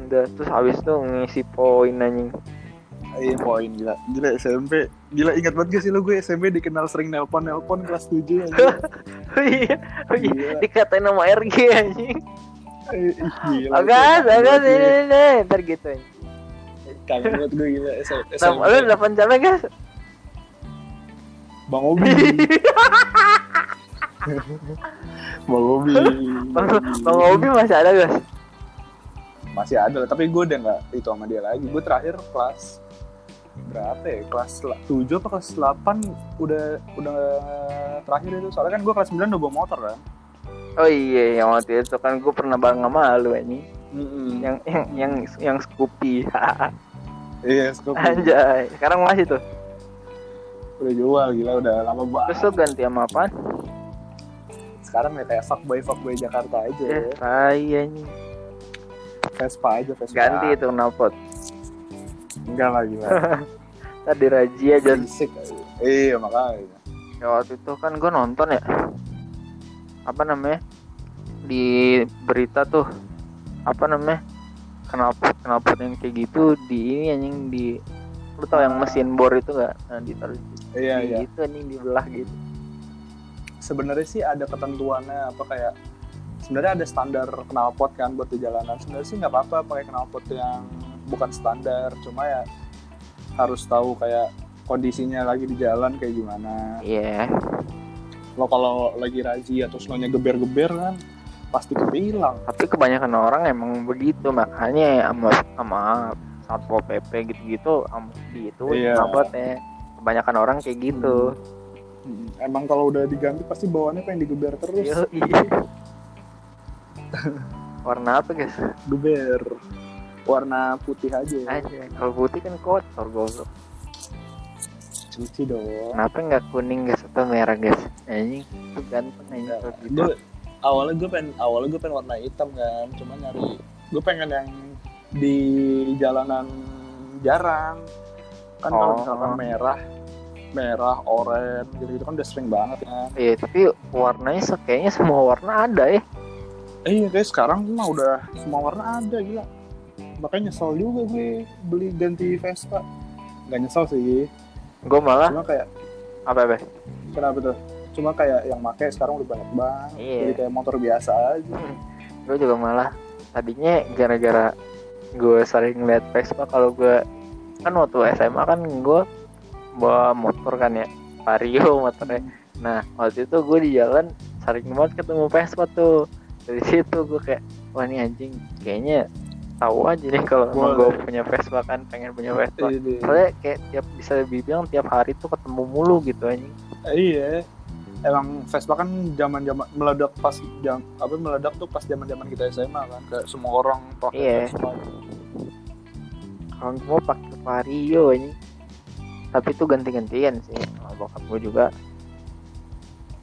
S1: Udah terus habis tuh ngisi poin anjing. *laughs*
S2: iya poin gila. Gila SMP. Gila ingat banget gak sih lo gue SMP dikenal sering nelpon-nelpon kelas 7
S1: *laughs*
S2: aja.
S1: Iya, iya.
S2: Gila.
S1: dikatain sama RG anjing.
S2: Eh, ih, gila.
S1: Agas, agas ini ini ntar gitu.
S2: Kangen banget gue gila S-
S1: Nah, lu
S2: SMP.
S1: delapan jam guys.
S2: Bang
S1: *laughs*
S2: Obi. Bang Obi.
S1: Bang, Bang Obi masih ada guys.
S2: masih ada lah tapi gue udah nggak itu sama dia lagi gue terakhir kelas berapa ya kelas 7 apa kelas 8 udah udah terakhir itu soalnya kan gue kelas 9 udah bawa motor kan
S1: Oh iya, yang waktu itu kan gue pernah bareng sama lu ini.
S2: yang
S1: Yang yang yang yang Scoopy. *laughs*
S2: iya scoop
S1: Anjay, sekarang masih tuh.
S2: udah jual gila udah lama
S1: Terus
S2: banget
S1: lu ganti sama apaan?
S2: sekarang ya kayak fuckboy fuckboy Jakarta aja
S1: Eh,
S2: ya.
S1: tai anjing.
S2: Vespa aja Vespa
S1: Ganti itu knalpot.
S2: enggak lah gila
S1: Tadi Raji aja.
S2: Berisik aja. iya makanya
S1: Ya waktu itu kan gue nonton ya. Apa namanya? Di berita tuh apa namanya? Kenapa kenapa yang kayak gitu di ini anjing di lu tau yang mesin bor itu gak? Nah, ditaruh di
S2: iya iya
S1: gitu anjing dibelah gitu.
S2: sebenarnya sih ada ketentuannya apa kayak sebenarnya ada standar knalpot kan buat di jalanan sebenarnya sih nggak apa-apa pakai knalpot yang bukan standar cuma ya harus tahu kayak kondisinya lagi di jalan kayak gimana
S1: Iya.
S2: lo kalau lagi razia terus lo nya geber-geber kan pasti kepilang
S1: Tapi kebanyakan orang emang begitu makanya sama sama satpol pp gitu-gitu sama gitu
S2: Iya.
S1: knalpotnya. Kebanyakan orang kayak gitu.
S2: emang kalau udah diganti pasti bawaannya pengen digeber terus
S1: Yoi. Warna apa guys?
S2: geber warna putih aja
S1: Aja. Kalau putih kan kotor goblok.
S2: cuci dong
S1: Kenapa nggak kuning guys atau merah guys? Anjing itu ganteng anjing
S2: Nggak,
S1: kalau gitu.
S2: gue awalnya gue pengen awalnya gue pengen warna hitam kan cuma nyari gue pengen yang di jalanan jarang kan kalau
S1: Oh.
S2: misalkan merah merah oranye gitu gitu kan udah sering banget kan
S1: Iya tapi warnanya se- kayaknya semua warna ada ya.
S2: eh iya guys sekarang mah udah semua warna ada gila makanya nyesel juga gue beli ganti Vespa nggak nyesel sih
S1: Gue malah
S2: cuma kayak
S1: apa apa?
S2: kenapa tuh cuma kayak yang make sekarang udah banyak banget
S1: Iya.
S2: jadi kayak motor biasa aja
S1: Gue juga malah tadinya gara-gara gue sering lihat Vespa kalau gue kan waktu SMA kan gue bawa motor kan ya Vario motornya Nah waktu itu gue di jalan sering banget ketemu Vespa tuh dari situ gue kayak wah ini anjing kayaknya tahu aja nih kalau emang gue
S2: Boleh. Iya.
S1: punya Vespa kan pengen punya Vespa.
S2: Ini.
S1: Soalnya kayak tiap bisa dibilang tiap hari tuh ketemu mulu gitu anjing.
S2: Iya. Emang Vespa kan zaman zaman meledak pas jam apa meledak tuh pas zaman zaman kita SMA kan kayak semua orang pakai
S1: Iya.
S2: Vespa.
S1: Kalau gue pakai Vario anjing. Tapi tuh ganti-gantian sih. Sama bokap gue juga.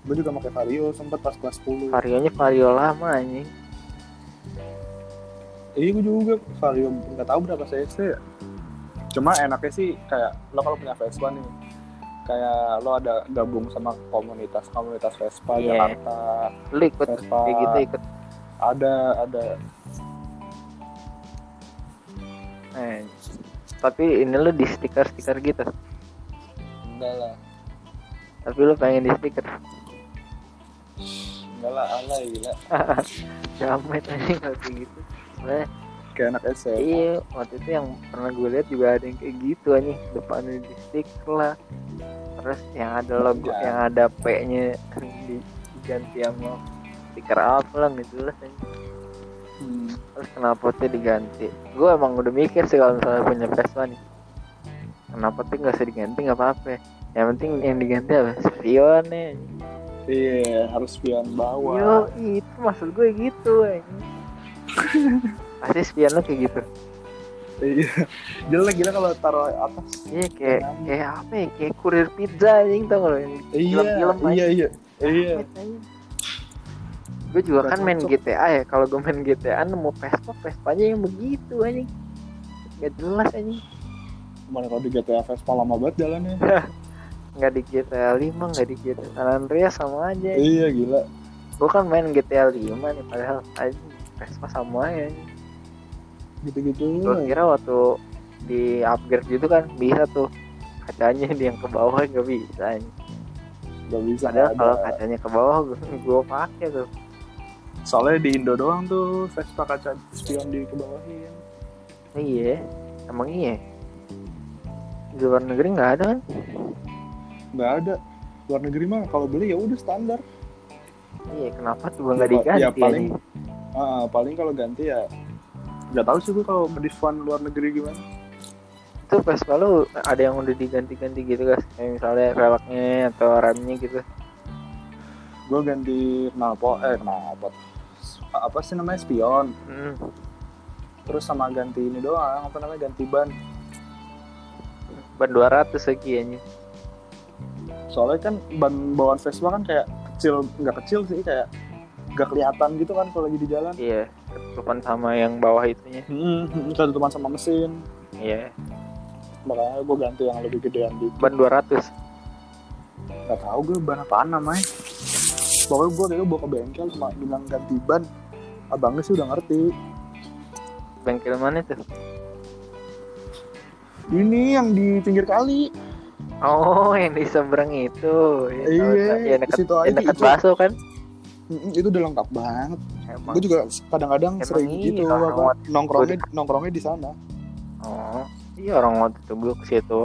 S2: Gue juga pakai Vario sempet pas kelas 10.
S1: Varionya Vario lama anjing.
S2: Iya gue juga Vario nggak tahu berapa cc. Cuma enaknya sih kayak lo kalau punya Vespa nih kayak lo ada gabung sama komunitas komunitas Vespa
S1: Iya.
S2: Jakarta
S1: Lu ikut
S2: Vespa
S1: kayak gitu ikut.
S2: ada ada
S1: Eh, tapi ini lu di stiker-stiker gitu.
S2: enggak lah
S1: Tapi lu pengen di stiker. *laughs*
S2: enggak lah alay gila
S1: Jamet anjing kalau kayak gitu. Soalnya
S2: kayak anak SMA
S1: Iya, waktu itu yang pernah gue lihat juga ada yang kayak gitu anjing, depannya di stiker lah. Terus yang ada logo,
S2: Iya.
S1: yang ada P-nya di- diganti sama stiker apa lah gitu lah. anjing.
S2: Hmm.
S1: Terus knalpotnya diganti. Gue emang udah mikir sih kalau misalnya punya Vespa nih. Knalpotnya nggak usah diganti nggak apa-apa. Yang penting yang diganti apa? Spionnya.
S2: Iya, harus spion bawah.
S3: Yo, itu maksud gue gitu. anjing.
S1: Pasti spion lu kayak gitu.
S2: Iya. Jelek gila kalau taruh atas.
S1: Iya kayak kayak apa ya? Kayak kurir pizza anjing tau gak lo yang
S2: Iya,
S1: film-film
S2: iya, iya. Iya.
S1: Gue juga
S2: Nggak
S1: kan main
S2: cocok.
S1: GTA ya. Kalau gue main GTA nemu Vespa, Vespanya yang begitu anjing. Gak jelas anjing.
S2: Kemarin kalau di GTA Vespa lama banget jalannya.
S1: Gak di GTA 5, gak di GTA San Andreas sama aja.
S2: iya, gila.
S1: Gue kan main GTA 5 nih padahal anjing Vespa sama aja. anjing.
S2: Gitu-gitu.
S1: Gue kira waktu di upgrade gitu kan bisa tuh kacanya di yang ke bawah gak bisa anjing.
S2: Gak bisa
S1: Padahal
S2: nggak
S1: kalau
S2: ada.
S1: kacanya ke bawah gue gue pakai tuh.
S2: Soalnya di Indo doang tuh Vespa kaca spion di kebawahin.
S1: Iya, emang iya. Di luar negeri nggak ada kan?
S2: Gak ada. Luar negeri mah kalau beli ya udah standar.
S1: Iya, kenapa tuh nggak
S2: Ya,
S1: diganti?
S2: ya, paling-
S1: anjing?
S2: Ah, paling kalau ganti ya nggak tahu sih gue kalau diskon luar negeri gimana.
S1: itu Vespa lu ada yang udah diganti-ganti gitu guys, kayak misalnya velgnya atau remnya gitu.
S2: Gue ganti knalpot eh knalpot apa sih namanya spion
S1: Hmm.
S2: terus sama ganti ini doang apa namanya ganti ban
S1: Ban 200 lagi anjing.
S2: soalnya kan ban bawaan Vespa kan kayak kecil nggak kecil sih kayak nggak kelihatan gitu kan kalau lagi di jalan
S1: Iya, ketutupan sama yang bawah itunya.
S2: hmm, tutupan sama mesin
S1: Iya,
S2: makanya gue ganti yang lebih gedean di
S1: ban 200.
S2: nggak tahu gue ban apaan namanya pokoknya gue kayak bawa ke bengkel cuma bilang ganti ban abangnya sih udah ngerti
S1: Bengkel mana tuh?
S2: ini yang di pinggir kali
S1: Oh, yang di seberang itu. Ya,
S2: Iya,
S1: tahu, tahu. Ya, dekat,
S2: situ aja, iya.
S1: ya, dekat
S2: itu.
S1: bakso kan?
S2: Mm, itu udah lengkap banget
S1: Emang.
S2: gue juga kadang-kadang
S1: Emang
S2: sering
S1: iya,
S2: gitu
S1: orang
S2: apa,
S1: lewat.
S2: nongkrongnya nongkrongnya di sana
S1: Oh, iya orang waktu itu gue ke situ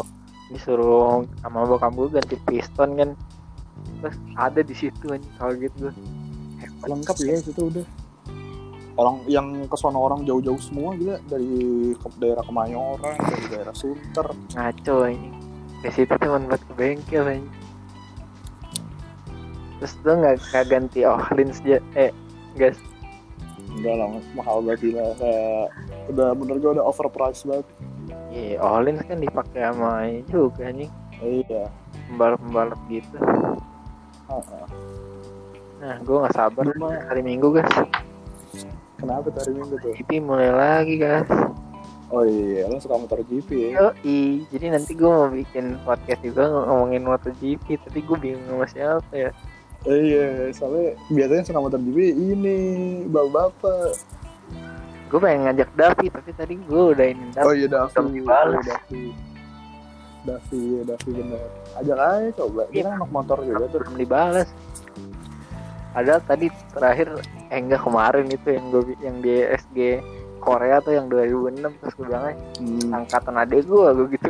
S1: disuruh sama bokap gue ganti piston kan terus ada di situ anjing gitu kaget gue Eh,
S2: lengkap ya itu udah orang yang kesono orang jauh-jauh semua gila dari ke- daerah Kemayoran dari daerah Sunter
S1: ngaco ini ke situ cuma buat ke bengkel anjing terus tuh nggak nggak ganti ohlin aja eh gas
S2: udah lah Mas. mahal banget gila kayak udah bener gue udah overpriced banget
S1: iya ohlin kan dipakai sama ini juga anjing
S2: iya
S1: pembalap pembalap gitu
S2: Heeh.
S1: nah gue nggak sabar
S2: Cuma,
S1: hari minggu gas
S2: kenapa tuh hari minggu tuh
S1: GP mulai lagi gas
S2: oh iya lo suka motor GP ya
S1: Yoi, jadi nanti gue mau bikin podcast juga ng- ngomongin MotoGP Tapi gue bingung sama siapa ya
S2: iya soalnya biasanya suka motor GP ini bapak-bapak
S1: Gue pengen ngajak Davi, tapi tadi gue udah ini
S2: oh
S1: Davi
S2: iya
S1: belum
S2: Davi
S1: dibalas.
S2: Oh, Davi Davi iya Davi bener ajak aja coba dia kan anak motor juga tuh
S1: belum dibalas Padahal tadi terakhir, eh enggak kemarin itu yang gue yang di SG Korea tuh yang 2006 Terus gue bilang "Eh,
S2: Hmm.
S1: angkatan adek gue, gue gitu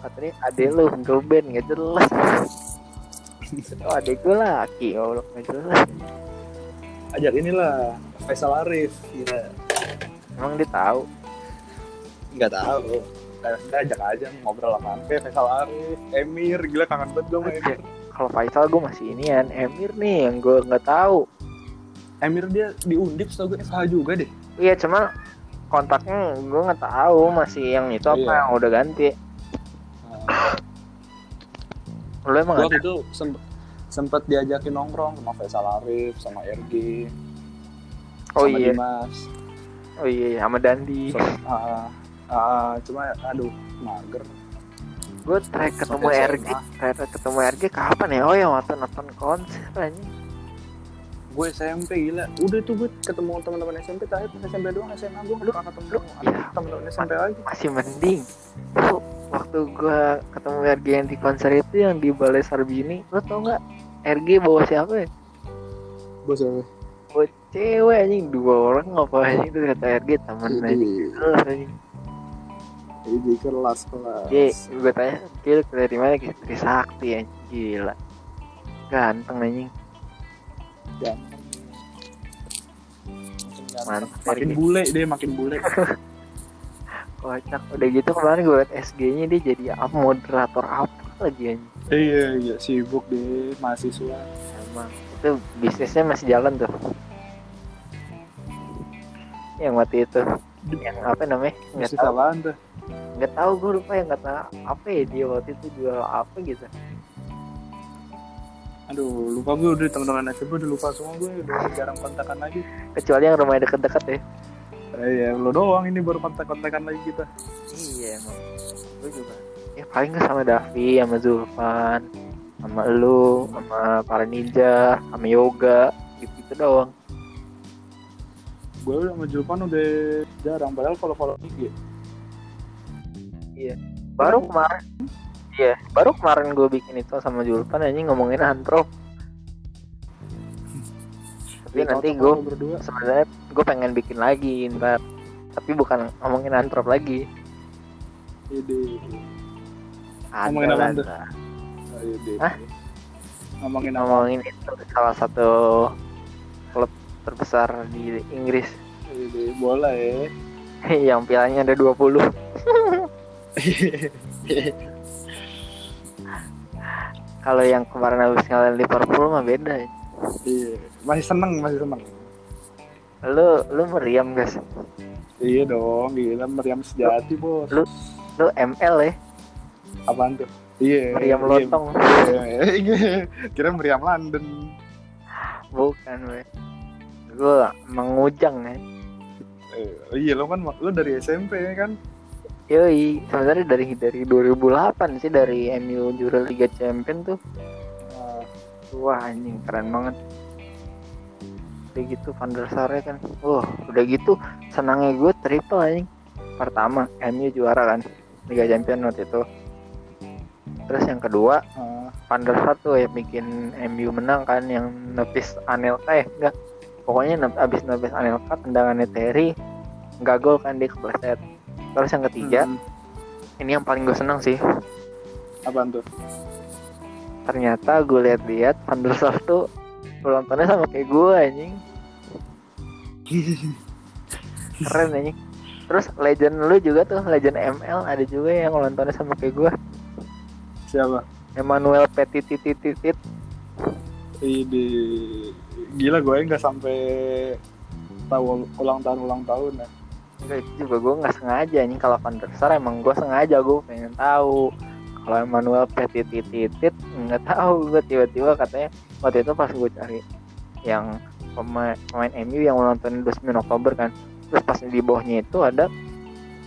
S1: Katanya adek lu, girl band, gak jelas Oh adek gue laki, ya Allah gak jelas
S2: ajak inilah Faisal Arif Iya. gila
S1: Emang dia tahu
S2: nggak tahu Nah, kita ajak aja ngobrol sama Ampe, Faisal Arif, Emir, gila kangen banget gue sama Emir.
S1: kalau Faisal gue masih inian Emir nih yang gue nggak tahu
S2: Eh, Emir dia diundip setau gue FH juga deh.
S1: iya cuman kontaknya gue nggak tahu masih yang itu apa
S2: Iya.
S1: yang udah ganti lu emang
S2: Gue
S1: ada
S2: waktu itu sempet, sempet diajakin nongkrong sama Faisal Arif, sama RG,
S1: oh
S2: sama
S1: iya
S2: Dimas.
S1: oh iya iya, sama Dandi
S2: So, ah, ah, cuma aduh mager.
S1: gue terakhir ketemu
S2: Sampai
S1: RG
S2: SMA.
S1: terakhir ketemu RG kapan ya oh ya waktu nonton konser aja
S2: Gue SMP gila. Udah tuh gue ketemu teman-teman SMP terakhir pas SMP doang SMA gue nggak pernah ketemu
S1: lu-
S2: anak teman-teman SMP lagi.
S1: masih mending Lu, waktu gue ketemu RG yang di konser itu yang di Balai Sarbini lu tau nggak RG bawa siapa ya?
S2: Bos
S1: Bawa cewek anjing dua orang ngapain itu kata RG temen
S2: Iya,
S1: aja Kelas, anjing.
S2: Jadi kelas kelas.
S1: Ki, gue tanya, Ki lu dari mana Ki? Trisakti ya, gila Ganteng anjing,
S2: Ganteng.
S1: Mantap.
S2: Makin bule deh, makin
S1: *laughs*
S2: bule.
S1: kocak Udah gitu kemarin gue liat SG-nya dia jadi apa, moderator apa lagi anjing
S2: iya, iya sibuk deh mahasiswa.
S1: Emang emang itu bisnisnya masih jalan tuh yang waktu itu yang apa namanya nggak
S2: Bisnis
S1: tahu
S2: apaan tuh?
S1: nggak tahu gue lupa yang kata apa ya dia waktu itu jual apa gitu
S2: Aduh, lupa gue udah teman-teman aja gue udah lupa semua gue udah jarang kontakan lagi.
S1: kecuali yang rumahnya deket-deket ya
S2: Eh, ya, lo doang ini baru kontak-kontakan lagi kita.
S1: iya emang gue juga ya paling gue sama Davi sama Zulfan sama lu sama para ninja sama yoga gitu, -gitu doang
S2: Gue sama Julpan udah jarang padahal kalau follow IG.
S1: baru
S2: Hmm.
S1: kemarin iya baru kemarin gue bikin itu sama Julpan anjing ngomongin antrop tapi
S2: Ya,
S1: nanti
S2: cocok
S1: gue
S2: lo berdua.
S1: sebenarnya gue pengen bikin lagi ntar tapi bukan ngomongin antrop lagi
S2: Ide.
S1: Ada
S2: Ngomongin
S1: lah,
S2: apaan tuh?
S1: ada.
S2: Ide.
S1: Hah?
S2: iya Ngomongin apa?
S1: ngomongin itu salah satu klub terbesar di Inggris
S2: Ide bola
S1: *laughs*
S2: ya.
S1: yang pilihannya ada 20
S2: Iya,
S1: kalau yang kemarin habis ngalahin Liverpool mah beda ya.
S2: Iya. Masih seneng, masih seneng.
S1: lu lu meriam guys
S2: Iya dong, gila meriam sejati bos.
S1: Lu- lu ML ya
S2: Apaan tuh? Iya.
S1: meriam
S2: iya,
S1: lontong
S2: iya. *laughs* Kira meriam London.
S1: bukan we gue mengujang ya
S2: Eh, iya lo kan lo dari SMP ya kan?
S1: Yoi, sebenarnya dari dari 2008 sih dari MU juara Liga Champion tuh.
S2: Ah,
S1: Wah, anjing keren banget. Udah gitu Van der Sar-nya kan. Wah, udah gitu senangnya gue triple anjing. Pertama, MU juara kan Liga Champion waktu itu. Terus yang kedua,
S2: Ah,
S1: Van der Sar tuh yang bikin MU menang kan yang nepis Anelka ya enggak. Pokoknya nep- abis nepis Anelka tendangannya Terry nggak gol kan dia kepleset. Terus yang ketiga,
S2: hmm,
S1: ini yang paling gue seneng sih
S2: apaan tuh? *laughs*
S1: ternyata gue lihat-lihat Van der Sar tuh penontonnya sama kayak gue anjing keren anjing terus legend lu juga tuh legend ML ada juga yang nontonnya sama kayak gue
S2: Siapa?
S1: Emmanuel Petititititit
S2: Ide gila gue nggak sampai tahu ulang tahun ulang tahun ya.
S1: enggak itu juga gue nggak sengaja anjing kalau Van der Sar emang gue sengaja gue pengen tahu kalau Emmanuel Petititititit nggak tahu gue tiba-tiba katanya waktu itu pas gue cari yang pemain, pemain MU yang ulang tahun 29 Oktober kan terus pas di bawahnya itu ada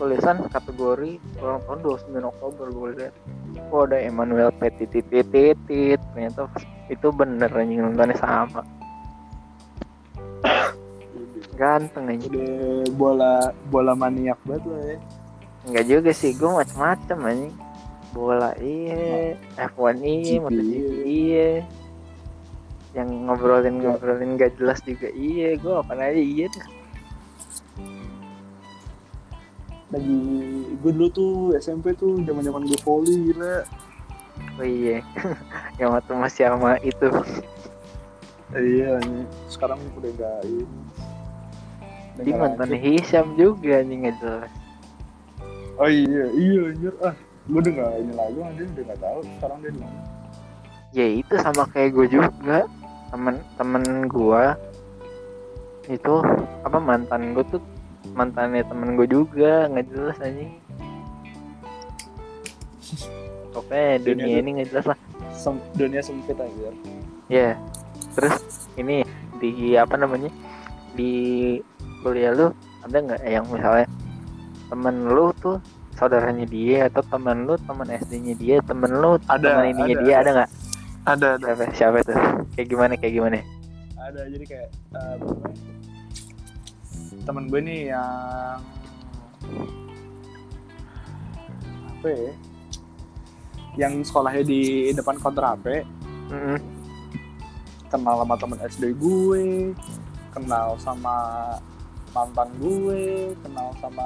S1: tulisan kategori ulang tahun 29 Oktober gue lihat oh ada Emmanuel Petititititit ternyata itu bener anjing nontonnya sama
S2: Ide.
S1: ganteng anjing
S2: Udah bola bola maniak banget lo ya.
S1: Enggak juga sih, gue macem-macem anjing Bola iya, F1 iya,
S2: GP,
S1: MotoGP iya Yang ngobrolin-ngobrolin gak jelas juga iya, gue apa aja iya tuh
S2: Lagi gue dulu tuh SMP tuh zaman zaman gue volley gila.
S1: Oh iya, *laughs* yang waktu masih sama itu
S2: Iya. anjing. Sekarang udah nggak ini. Udah
S1: Di
S2: nggak
S1: mantan
S2: lanjut.
S1: Hisham juga nih gak jelas
S2: Oh iya iya anjir ah gue udah nggak ini lagi anjir udah nggak tahu sekarang dia di mana.
S1: Ya itu sama kayak gue juga Temen-temen gue Itu, apa mantan gue tuh Mantannya temen gue juga, gak jelas anjing Pokoknya
S2: Dunia
S1: dunia ini gak jelas lah
S2: Sem- dunia sempit aja.
S1: Ya. Terus ini di apa namanya? Di kuliah lu ada nggak yang misalnya temen lu tuh saudaranya dia atau temen lu temen SD-nya dia, temen lu
S2: Ada,
S1: temen ininya
S2: ada,
S1: dia ada nggak?
S2: Ada
S1: Siapa, siapa tuh? Kayak gimana kayak gimana?
S2: ada jadi kayak eh, apa namanya? temen gue nih yang apa ya yang sekolahnya di depan konter HP
S1: Mm-mm.
S2: kenal sama temen SD gue kenal sama mantan gue kenal sama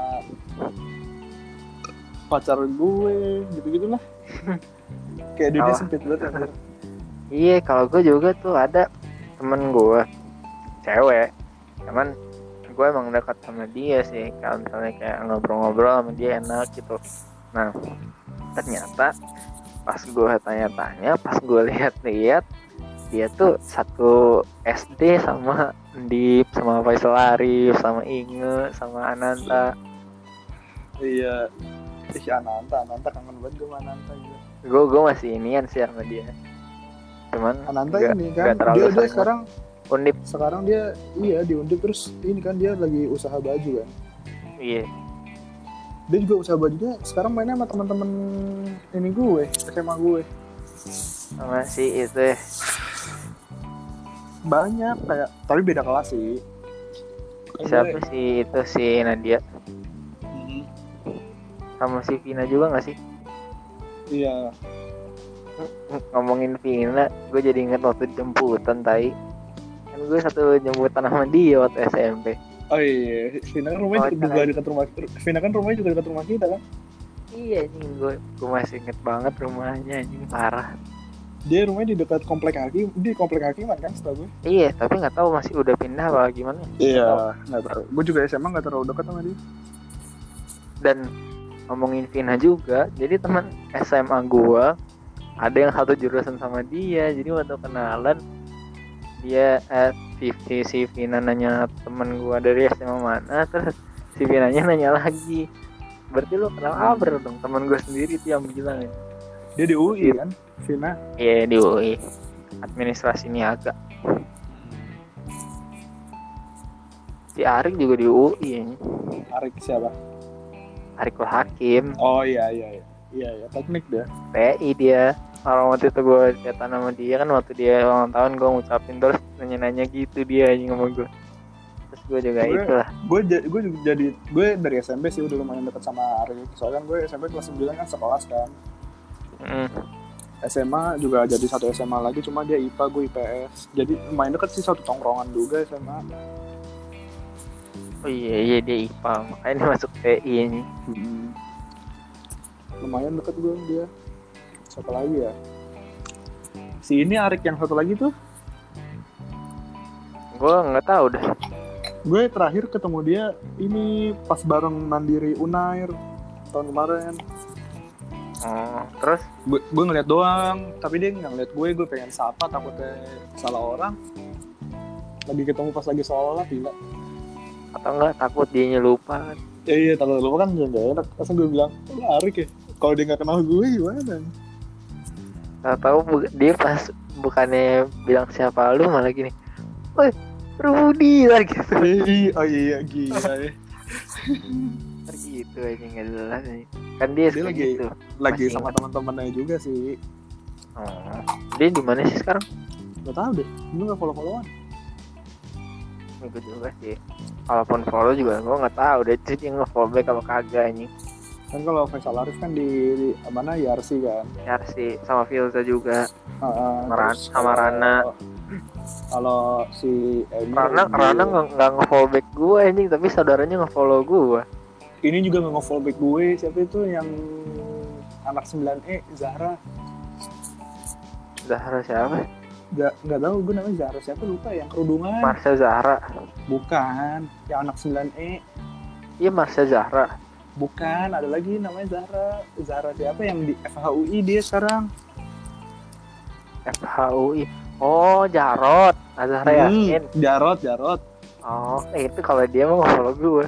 S2: pacar gue gitu gitulah *laughs* kayak dunia
S1: Salah.
S2: sempit banget ya. anjir.
S1: Iya, kalau gue juga tuh ada temen gue cewek. Cuman gue emang dekat sama dia sih. Kalau misalnya kayak ngobrol-ngobrol sama dia enak gitu. Nah, ternyata pas gue tanya-tanya, pas gue lihat-lihat dia tuh satu SD sama Dip sama Faisal Arif sama Inge sama Ananta
S2: iya Ih, Ananta, Ananta kangen banget sama Ananta gitu.
S1: gue gue masih inian sih sama dia cuman
S2: Ananta
S1: nggak-
S2: ini
S1: nggak
S2: kan,
S1: terlalu
S2: dia, dia
S1: sering.
S2: sekarang
S1: undip
S2: sekarang dia iya diundip terus ini kan dia lagi usaha baju kan.
S1: iya
S2: Dia juga usaha bajunya sekarang mainnya sama teman-teman ini gue, SMA gue.
S1: sama si itu ya.
S2: Banyak kayak tapi beda kelas sih. Kan
S1: siapa
S2: gue-
S1: sih itu si Nadia
S2: Mhm.
S1: sama si Vina juga nggak sih
S2: Iya,
S1: Ng- ngomongin Vina gue jadi inget waktu jemputan tai kan gue satu jemputan sama dia waktu SMP
S2: Oh iya, Vina kan rumahnya
S1: Oh,
S2: juga
S1: cerai.
S2: dekat rumah Vina kan rumahnya juga dekat rumah kita kan.
S1: iya anjing gue gue masih inget banget rumahnya anjing parah
S2: Dia rumahnya di dekat komplek hakim, di komplek hakiman kan setahu gue.
S1: iya tapi nggak tahu masih udah pindah apa gimana
S2: Iya, nggak tahu. Gue juga SMA nggak terlalu dekat sama dia.
S1: dan ngomongin Vina juga jadi teman SMA gua ada yang satu jurusan sama dia jadi waktu kenalan dia eh, si, si, si Vina nanya temen gua dari SMA mana terus si Vinanya nanya lagi berarti lu kenal Abra dong teman gua sendiri tuh yang bilang ya.
S2: Dia di UI kan, Vina.
S1: iya di UI administrasi niaga si Arik juga di UI ini
S2: Arik siapa?
S1: Arikul Hakim
S2: Oh iya iya iya. Iya iya, teknik dia.
S1: PI dia kalau waktu itu gue chatan sama dia kan waktu dia ulang tahun gue ngucapin terus nanya-nanya gitu dia anjing sama gue terus gue juga
S2: Gue-
S1: itulah
S2: Gue ja- gue juga jadi gue dari SMP sih udah lumayan dekat sama Arik. Soalnya kan gue SMP kelas 9 kan sekelas kan.
S1: Mm.
S2: SMA juga jadi satu SMA lagi cuma dia IPA gue IPS. Jadi lumayan dekat sih satu tongkrongan juga SMA.
S1: oh iya iya dia IPA makanya dia masuk PI ini
S2: Mm-mm. Lumayan deket gue sama dia. Siapa lagi ya? Si ini Arik yang satu lagi tuh,
S1: gue nggak tahu dah
S2: gue terakhir ketemu dia ini pas bareng Mandiri Unair tahun kemarin.
S1: oh, terus
S2: Gue, gue ngeliat doang, tapi dia nggak ngeliat gue, gue pengen sapa takutnya salah orang. Lagi ketemu pas lagi sholat, gila.
S1: atau enggak takut dia lupa kan.
S2: Ya iya, takut lupa kan gak enak. Terus gue bilang, oh, Arik ya? Kalau dia nggak kenal gue gimana?
S1: Tahu tahu bu- dia pas bukannya bilang siapa lu malah gini woi Rudi lah gitu
S2: Eh, oh iya, gila ya.
S1: Ntar gitu aja nggak jelas anjing. kan dia,
S2: Dia
S1: suka
S2: lagi-
S1: gitu
S2: Lagi
S1: Masih
S2: sama
S1: ingat.
S2: teman-temannya juga sih.
S1: oh. dia di mana sih sekarang
S2: Gak tau deh, lu gak follow-followan
S1: Gue juga sih Walaupun follow juga gue gak tahu deh Itu dia nge-follow back apa kagak ini
S2: Kan kalau Faisal Arif kan di, di mana YRC kan
S1: Ya sih sama Filza juga
S2: Heeh,
S1: Sama Ran-
S2: terus
S1: sama
S2: kalau-
S1: Rana.
S2: Kalau si Emil
S1: Rana,
S2: di-
S1: Rana gak, nge-follow back gue anjing Tapi saudaranya nge-follow gue
S2: Ini juga gak nge-follow back gue, siapa itu yang anak 9E, Zahra
S1: Zahra siapa?
S2: Gak, gak tau gue namanya Zahra siapa lupa yang kerudungan
S1: Marsha Zahra
S2: Bukan, yang anak E. 9E
S1: Iya Marsha Zahra
S2: Bukan, ada lagi namanya Zahra Zahra siapa yang di FHUI dia sekarang
S1: FHUI Oh Jarot Ah, Zahra Yasin
S2: Hmm, Jarot, Jarot
S1: Oh eh, itu kalau dia mau nge-follow gue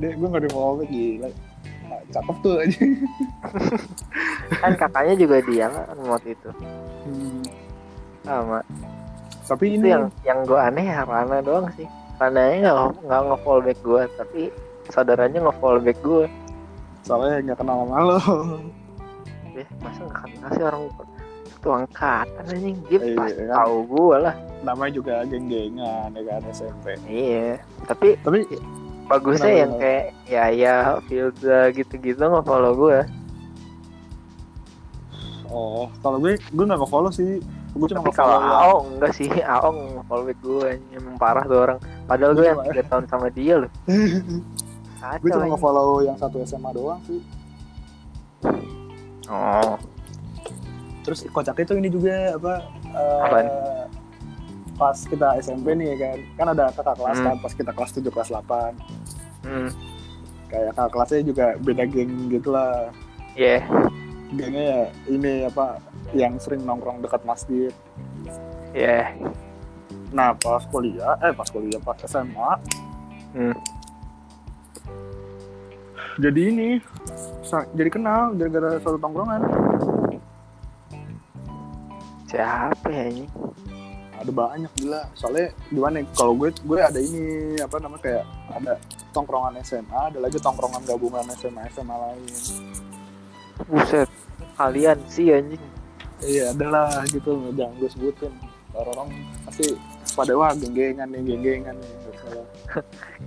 S2: Dek, gue gak di-follow back, gila Nah, cakep tuh aja
S1: Kan kakaknya juga dia kan waktu itu
S2: Hmm.
S1: Sama
S2: Tapi
S1: itu
S2: ini
S1: yang yang gue aneh ya Rana doang sih Rananya nggak nggak nge-follow back gue tapi saudaranya nge-follow back gue
S2: soalnya nggak kenal sama lo. *laughs*
S1: ya masa nggak kenal sih orang satu angkatan anjing dia
S2: Iya,
S1: pasti
S2: kan?
S1: tahu gue lah
S2: Namanya juga geng-gengan ya kan SMP.
S1: iya tapi
S2: Tapi
S1: bagusnya
S2: Kenapa,
S1: yang
S2: kenapa?
S1: kayak ya ya Filza gitu-gitu nge-follow gue
S2: oh kalau gue gue nggak follow sih. Gue cuma
S1: tapi
S2: nggak
S1: kalau
S2: follow
S1: Aong enggak sih *laughs* Aong nge-follow back gue anjing. emang parah tuh orang padahal gue
S2: Gua
S1: yang
S2: cuma-
S1: tiga tahun sama dia loh
S2: *laughs* Gue
S1: kacau
S2: Iya, cuma
S1: anjing.
S2: nggak follow yang satu SMA doang sih.
S1: oh
S2: Terus kocaknya tuh ini juga apa? eh,
S1: Apaan?
S2: pas kita SMP nih ya kan, kan ada kakak kelas
S1: Hmm.
S2: kan, pas kita kelas 7, kelas 8
S1: hmm
S2: Kayak kakak kelasnya juga beda geng gitu lah
S1: ya
S2: Gengnya ya ini apa, yang sering nongkrong dekat masjid
S1: Ya.
S2: Nah pas kuliah, eh pas kuliah pas SMA,
S1: Hmm.
S2: jadi ini sa- jadi kenal gara-gara satu tongkrongan.
S1: Siapa ya ini?
S2: Ada banyak gila. Soalnya di mana? ya, Kalau gue gue ada ini apa namanya kayak ada tongkrongan SMA, ada lagi tongkrongan gabungan SMA SMA lain.
S1: Buset. Kalian sih anjing.
S2: Iya adalah gitu jangan gue sebutin. Orang-orang pasti pada wah genggengan nih genggengan nih. Misalnya.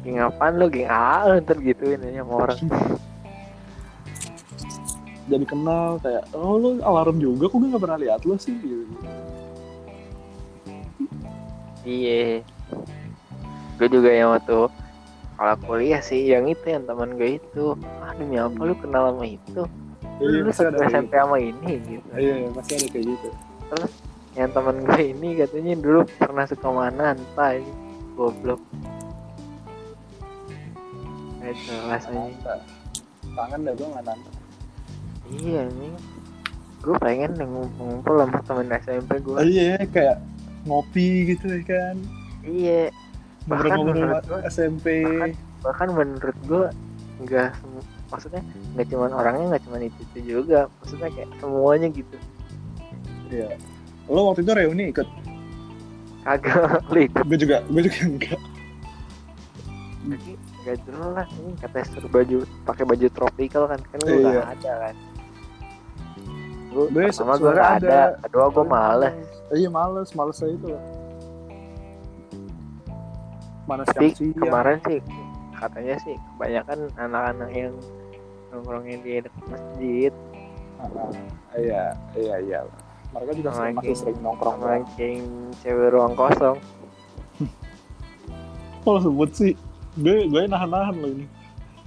S1: Geng apaan lu? Geng AA ntar gituin aja sama orang.
S2: Jadi kenal kayak oh lu alarm juga kok gue gak pernah lihat lu sih. Gitu.
S1: Iya. Gue juga yang waktu kalau kuliah sih yang itu yang teman gue itu. Ah demi apa lu kenal sama itu? Lu
S2: Iya, pasti
S1: satu
S2: ada kayak
S1: SMP
S2: gitu.
S1: sama ini gitu.
S2: Iya, pasti ada kayak gitu.
S1: Yang teman gue ini katanya dulu pernah suka sama Ananta ini. Goblok. Eh
S2: Iya.
S1: jelas anjing.
S2: Nanta. Tangan dah gue nggak nanta.
S1: Iya anjing. Gue pengen ngumpul sama temen SMP
S2: Oh,
S1: gue.
S2: iya, kayak ngopi gitu ya kan.
S1: Iya. Bahkan
S2: Ngobrol-ngobrol
S1: menurut gue
S2: SMP.
S1: bahkan bahkan menurut gue nggak semu- maksudnya nggak cuman orangnya nggak cuman itu itu juga maksudnya kayak semuanya gitu
S2: Iya. Lo waktu itu reuni ikut?
S1: kagak *laughs* lu ikut
S2: Gue juga, gue juga enggak.
S1: lagi nggak jelas ini katanya suruh baju pakai baju tropical kan kan gue
S2: Iya.
S1: nggak ada kan gue
S2: Gue
S1: pertama
S2: su-
S1: gue
S2: suara
S1: nggak
S2: ada.
S1: ada kedua gue Oh, males
S2: Iya males, males saya itu. Mana
S1: tapi
S2: siang siang.
S1: kemarin sih katanya sih kebanyakan anak-anak yang nongkrongnya di dekat masjid
S2: Ah, ah. Iya, iya, iya. Mereka juga
S1: Sama
S2: sering,
S1: lagi.
S2: masih sering nongkrong.
S1: sama geng cewek ruang kosong
S2: Kalau sebut sih, gue gue nahan-nahan lo ini.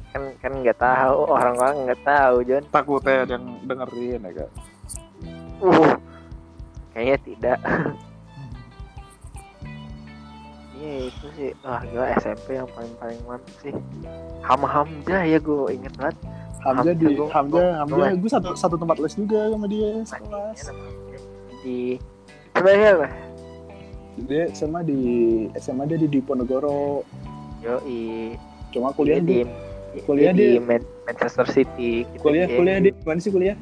S1: kan kan nggak tahu orang-orang nggak tahu Jon
S2: Takutnya ada yang dengerin ya kan.
S1: Uh, kayaknya tidak. Iya itu sih. Wah gila SMP yang paling paling mantap sih. Ham Hamzah ya gue inget banget.
S2: Hamzah di
S1: Hamzah, gua- gua-
S2: Hamzah Hamzah
S1: gua-
S2: gue satu satu tempat les juga sama dia sekelas
S1: Anjingnya nama Hamzah. Di sebenarnya lah.
S2: dia SMA di SMA dia di Diponegoro
S1: Yoi.
S2: cuma
S1: Dia
S2: kuliah
S1: di
S2: di kuliah
S1: dia di
S2: dia-
S1: Man- Manchester City. gitu.
S2: kuliah
S1: Dia
S2: kuliah di mana sih kuliah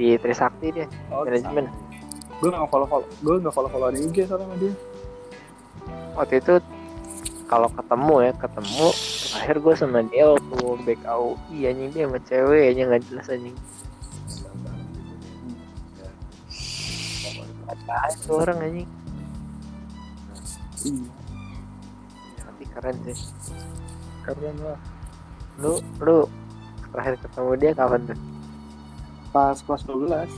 S1: di Trisakti dia.
S2: oh
S1: Manajemen.
S2: gue nggak follow follow gue nggak follow follow di IG soalnya sama dia
S1: Waktu itu kalau ketemu ya ketemu terakhir gue sama dia waktu back AUI anjing dia sama cewek anjing nggak jelas anjing apaan tuh orang anjing
S2: Iya,
S1: tapi keren sih
S2: keren lah
S1: lu lu terakhir ketemu dia kapan tuh
S2: pas kelas 12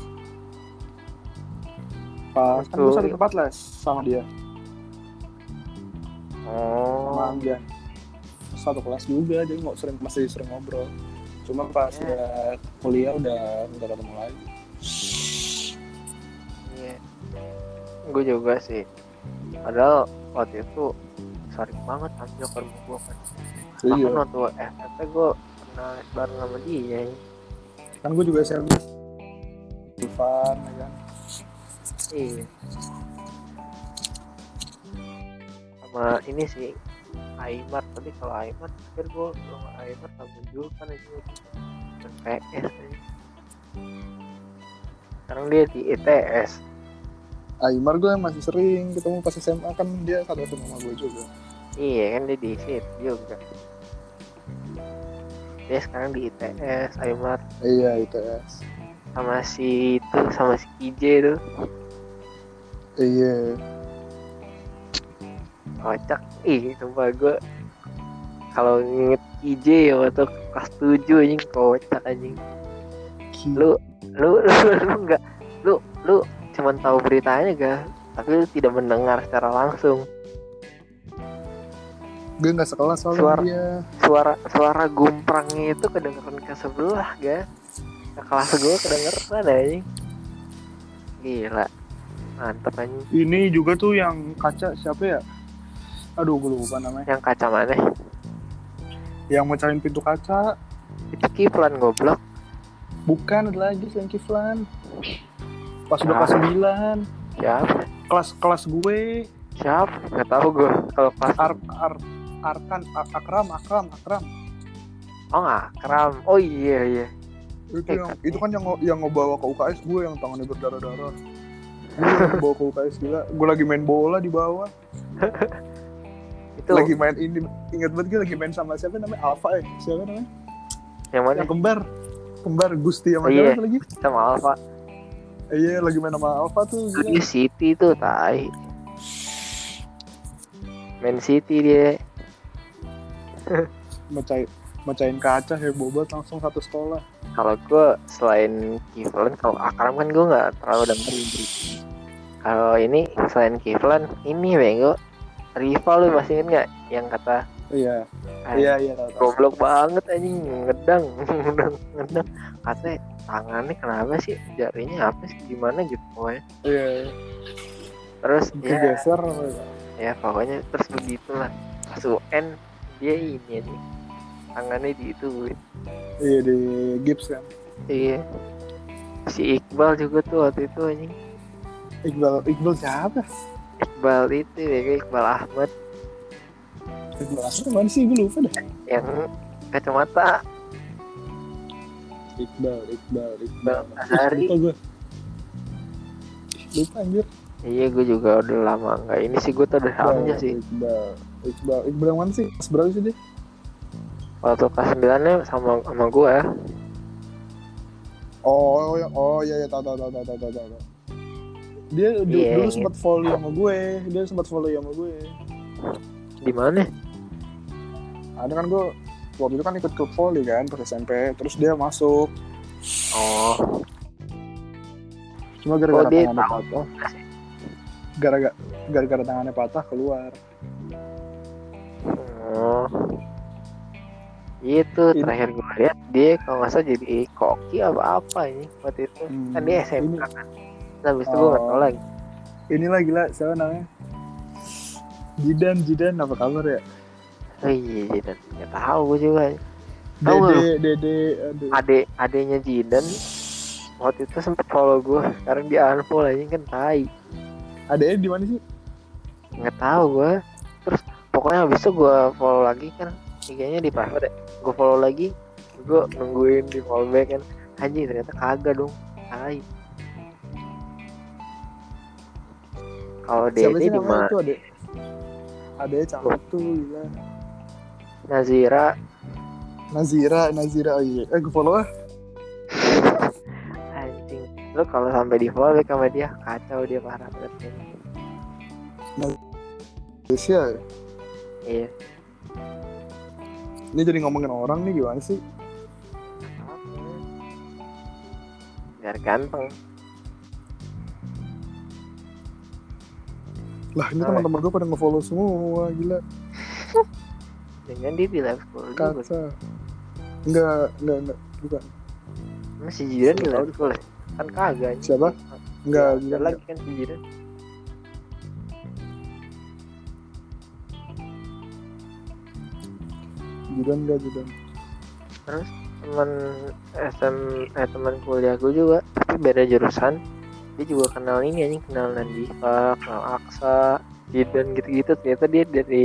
S2: pas kan gue
S1: Betul.
S2: satu tempat les sama dia sama
S1: oh
S2: Hamzah satu kelas juga jadi nggak sering masih sering ngobrol cuma pas
S1: Ya.
S2: dia kuliah udah nggak ketemu lagi
S1: iya gue juga sih padahal waktu itu sorry banget anjing ke rumah gue kan
S2: Iya.
S1: bahkan waktu FFP gue pernah les bareng sama dia anjing.
S2: kan gue juga servis Ivan ya kan
S1: iya sama ini sih Aimar tapi kalau Aimar terakhir gue sama Aimar sama Julkan aja Dan PS aja. sekarang dia di ITS
S2: Aymar gue masih sering ketemu pas SMA kan dia satu SMA sama gue juga
S1: Iya kan dia di sit juga. Dia sekarang di ITS, Aymar
S2: iya ITS
S1: sama si itu sama si KJ itu
S2: iya
S1: kocak. Ih, sumpah gue kalau nginget KJ ya waktu kelas 7 anjing kocak anjing.
S2: Gila.
S1: Lu lu *laughs* lu lu enggak lu lu cuman tahu beritanya gak tapi lu tidak mendengar secara langsung
S2: gue gak sekelas soalnya
S1: Suara.
S2: sama dia
S1: suara suara gumprangnya itu kedengeran ke sebelah ga ke kelas gue kedengeran anjing gila mantep anjing
S2: ini juga tuh yang kaca siapa ya aduh gue lupa namanya
S1: yang kaca mana
S2: yang mecahin pintu kaca
S1: itu kiplan goblok
S2: bukan ada lagi selain Kiflan pas udah
S1: Ah.
S2: kelas 9
S1: siapa
S2: kelas kelas gue
S1: siapa nggak tahu gue kalau kelas
S2: ar ar arkan Ar- akram akram akram
S1: oh nggak kram oh iya iya
S2: itu yang itu kan yang ngo- yang ngebawa ke UKS gue yang tangannya berdarah darah gue yang bawa ke UKS gila gue lagi main bola di bawah
S1: itu
S2: lagi main ini inget banget gue lagi main sama siapa namanya Alfa ya siapa namanya
S1: yang mana
S2: yang kembar kembar Gusti
S1: Oh,
S2: sama
S1: iya.
S2: siapa lagi
S1: sama Alfa
S2: Eh, iya lagi main sama Alfa tuh gila.
S1: di City tuh tai Man City dia
S2: mecahin mecahin kaca heboh banget langsung satu sekolah
S1: kalau gue selain Kiflan kalau Akram kan gue nggak terlalu dengerin kalau ini selain Kiflan ini bego rival lu masih inget nggak yang kata
S2: iya
S1: "Ah,
S2: iya iya tahu, tahu.
S1: goblok banget anjing ngedang *laughs* ngedang ngedang katanya tangannya kenapa sih jarinya apa sih gimana gitu pokoknya
S2: iya iya.
S1: terus ya
S2: kegeser
S1: ya pokoknya terus begitulah pas UN dia ini aja tangannya di itu
S2: iya di Gibbs kan
S1: iya si Iqbal juga tuh waktu itu anjing
S2: Iqbal Iqbal siapa
S1: Iqbal itu ya Iqbal Ahmad
S2: Iqbal Asri mana sih gue lupa deh
S1: yang kacamata
S2: Iqbal Iqbal Iqbal
S1: Iqbal Azhari
S2: lupa gue lupa anjir
S1: iya gue juga udah lama nggak ini sih gue
S2: Iya.
S1: tuh udah hamnya sih
S2: Iqbal Iqbal Iqbal yang mana sih Kelas berapa sih dia
S1: waktu kelas 9 nya sama sama ya. gue
S2: oh oh, oh iya iya tahu tahu tahu tahu tahu tahu tahu dia du-
S1: Iya.
S2: dulu sempat follow sama gue dia sempat follow sama gue
S1: di mana
S2: ada kan gue waktu itu kan ikut klub volley kan pas SMP terus dia masuk
S1: oh
S2: cuma gara-gara
S1: Oh, dia
S2: tangannya patah gara-gara gara-gara tangannya patah keluar
S1: Oh. Itu
S2: Ini-
S1: terakhir gue lihat dia kalau nggak salah jadi koki apa apa ini waktu itu
S2: Hmm,
S1: kan dia SMK
S2: ini-
S1: kan. Nah, habis itu gue nggak tahu
S2: Oh.
S1: lagi.
S2: inilah gila siapa namanya Jidan Jidan apa kabar ya
S1: Oh iya, Jidan. Nggak tahu gue juga. Tahu nggak
S2: Dede Dede aduh
S1: Ade adenya Jidan waktu itu sempet follow gue. Sekarang dia unfollow aja kan tai.
S2: adanya di mana sih
S1: Nggak tahu gue. Terus pokoknya habis itu gue follow lagi kan. IG-nya di private. ya. Gue follow lagi. Gue nungguin di follow back kan. Anjing ternyata kagak dong. Tai. Kalau
S2: siapa
S1: Dede
S2: sih
S1: di
S2: namanya
S1: mana?
S2: itu Ade Adanya cakep tuh gila
S1: Nazira
S2: Nazira Nazira oh iya eh gue follow ah
S1: anjing lu kalau sampai di follow back sama dia kacau dia parah banget ya.
S2: Indonesia
S1: iya
S2: ini jadi ngomongin orang nih gimana sih
S1: biar ganteng
S2: lah ini
S1: Oh,
S2: teman-teman gue pada ngefollow semua gila
S1: dengan dia di live school juga
S2: kaca enggak enggak enggak bukan
S1: masih jiran di live school ya? kan kagak anjing.
S2: Siapa? enggak
S1: Ada
S2: gila
S1: lagi kan si jiran
S2: Jidan enggak Jidan
S1: teman SM eh, teman kuliah gue juga tapi beda jurusan dia juga kenal ini anjing kenal Nandifa kenal Aksa Jidan gitu-gitu ternyata dia dari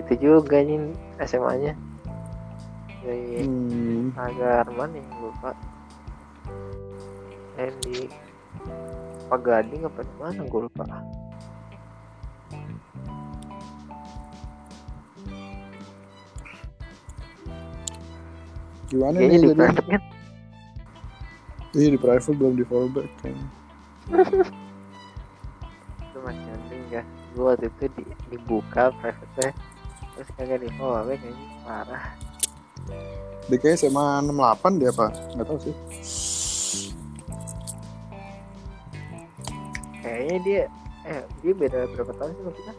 S1: itu juga anjing SMA-nya dari
S2: hmm.
S1: Agar mana yang lupa yang di Pagading apa di mana gue lupa
S2: gimana
S1: kayaknya
S2: nih
S1: di
S2: jadi
S1: Private kan
S2: iya di private belum di follow back kan. kayaknya.
S1: itu masih penting ya gue waktu itu di, dibuka private terus kagak di follow back ini parah
S2: dia kayak SMA 68 dia apa nggak tahu sih
S1: kayaknya dia eh dia beda berapa tahun sih sama kita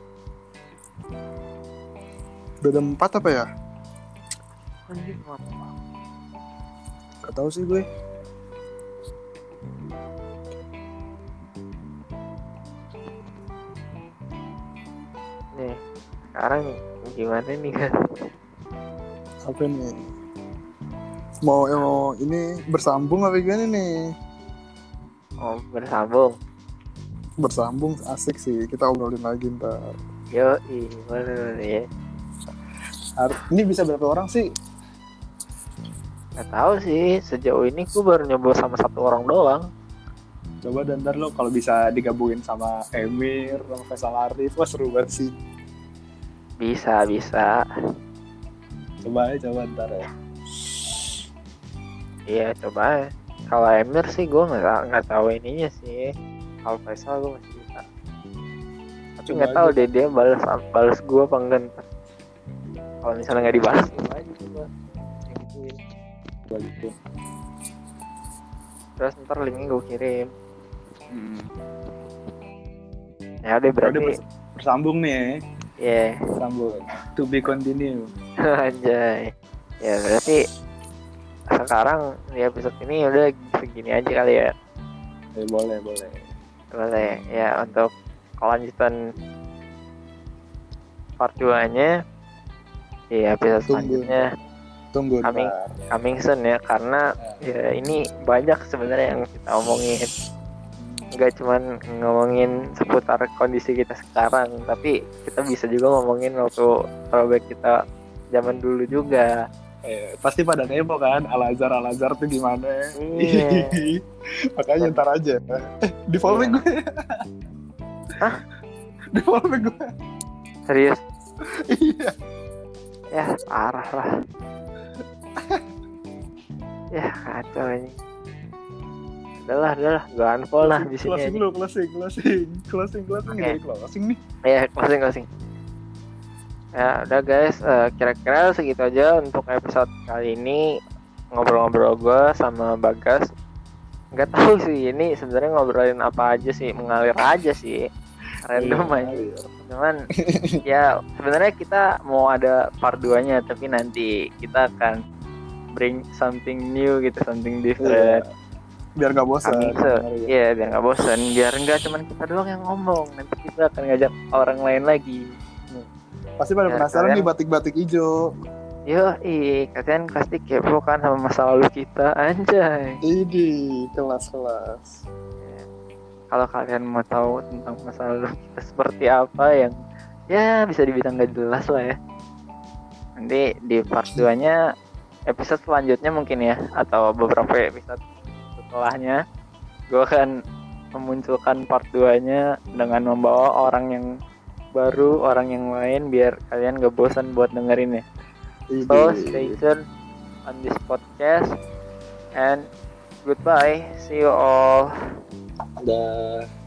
S2: beda empat apa ya
S1: anjir apa
S2: nggak tahu sih gue
S1: nih sekarang gimana nih kan
S2: apa nih mau eh, mau ini bersambung apa gimana nih
S1: oh bersambung
S2: bersambung asik sih kita obrolin lagi ntar
S1: Yo, boleh boleh ya.
S2: Har- ini bisa berapa orang sih
S1: Gak tahu sih, sejauh ini gue baru nyoba sama satu orang doang.
S2: coba dan ntar lo kalau bisa digabungin sama Emir sama Faisal Arif wah seru banget sih
S1: Bisa, bisa.
S2: coba aja coba ntar ya
S1: Iya, coba. ya. Kalau Emir sih gue nggak ta- nggak tahu ininya sih. Kalau Faisal gue masih bisa. Tapi
S2: Coba
S1: nggak tahu
S2: aja.
S1: deh dia balas balas gue apa enggak. ntar. Kalau misalnya nggak dibalas, coba aja coba. Ya gituin.
S2: coba gitu
S1: Terus ntar linknya gue kirim.
S2: hmm.
S1: Ya udah
S2: udah
S1: berarti.
S2: bers- bersambung nih ya
S1: Iya,
S2: bersambung to be continue
S1: *laughs* anjay. Ya berarti sekarang di episode ini udah segini aja kali ya.
S2: Eh, boleh boleh
S1: Boleh ya untuk kelanjutan part 2-nya di episode
S2: Tunggu.
S1: selanjutnya
S2: tunggu
S1: Kami-
S2: ntar
S1: coming soon ya karena ya ini banyak sebenarnya yang kita omongin nggak cuman ngomongin seputar kondisi kita sekarang tapi kita bisa juga ngomongin waktu throwback kita zaman dulu juga
S2: Eh, pasti pada kepo kan Al Azhar Al Azhar tuh gimana
S1: Iya.
S2: *laughs* makanya ntar aja eh, di follow
S1: Iya.
S2: back gue
S1: Hah?
S2: *laughs*
S1: Iya.
S2: di follow back gue
S1: serius
S2: *laughs* iya
S1: ya parah
S2: *laughs*
S1: lah ya kacau ini adalah adalah gue unfollow lah di sini
S2: closing
S1: aja.
S2: dulu closing closing closing closing
S1: Oke.
S2: dari closing nih
S1: ya closing closing ya udah guys eh, kira-kira segitu aja untuk episode kali ini ngobrol-ngobrol gue sama Bagas nggak tahu sih ini sebenarnya ngobrolin apa aja sih mengalir aja
S2: Iya.
S1: sih random aja cuman ya sebenarnya kita mau ada part 2-nya tapi nanti kita akan bring something new gitu something
S2: Iya.
S1: different
S2: biar gak bosan
S1: Amin, so. Iya, biar nggak bosan, biar nggak cuman kita doang yang ngomong. Nanti kita akan ngajak orang lain lagi.
S2: pasti pada
S1: Ya,
S2: penasaran
S1: kalian-
S2: nih batik-batik hijau
S1: Yo, ih, kalian pasti kepo kan sama masa lalu kita, anjay.
S2: ini kelas-kelas
S1: Kalau kalian mau tahu tentang masa lalu kita seperti apa yang ya bisa dibilang gak jelas lah ya. Nanti di part 2-nya episode selanjutnya mungkin ya atau beberapa episode setelahnya gue akan memunculkan part 2-nya dengan membawa orang yang baru, orang yang lain biar kalian gak bosan buat dengerin ya. So stay
S2: ini
S1: tuned on this podcast and goodbye. See you all.
S2: dah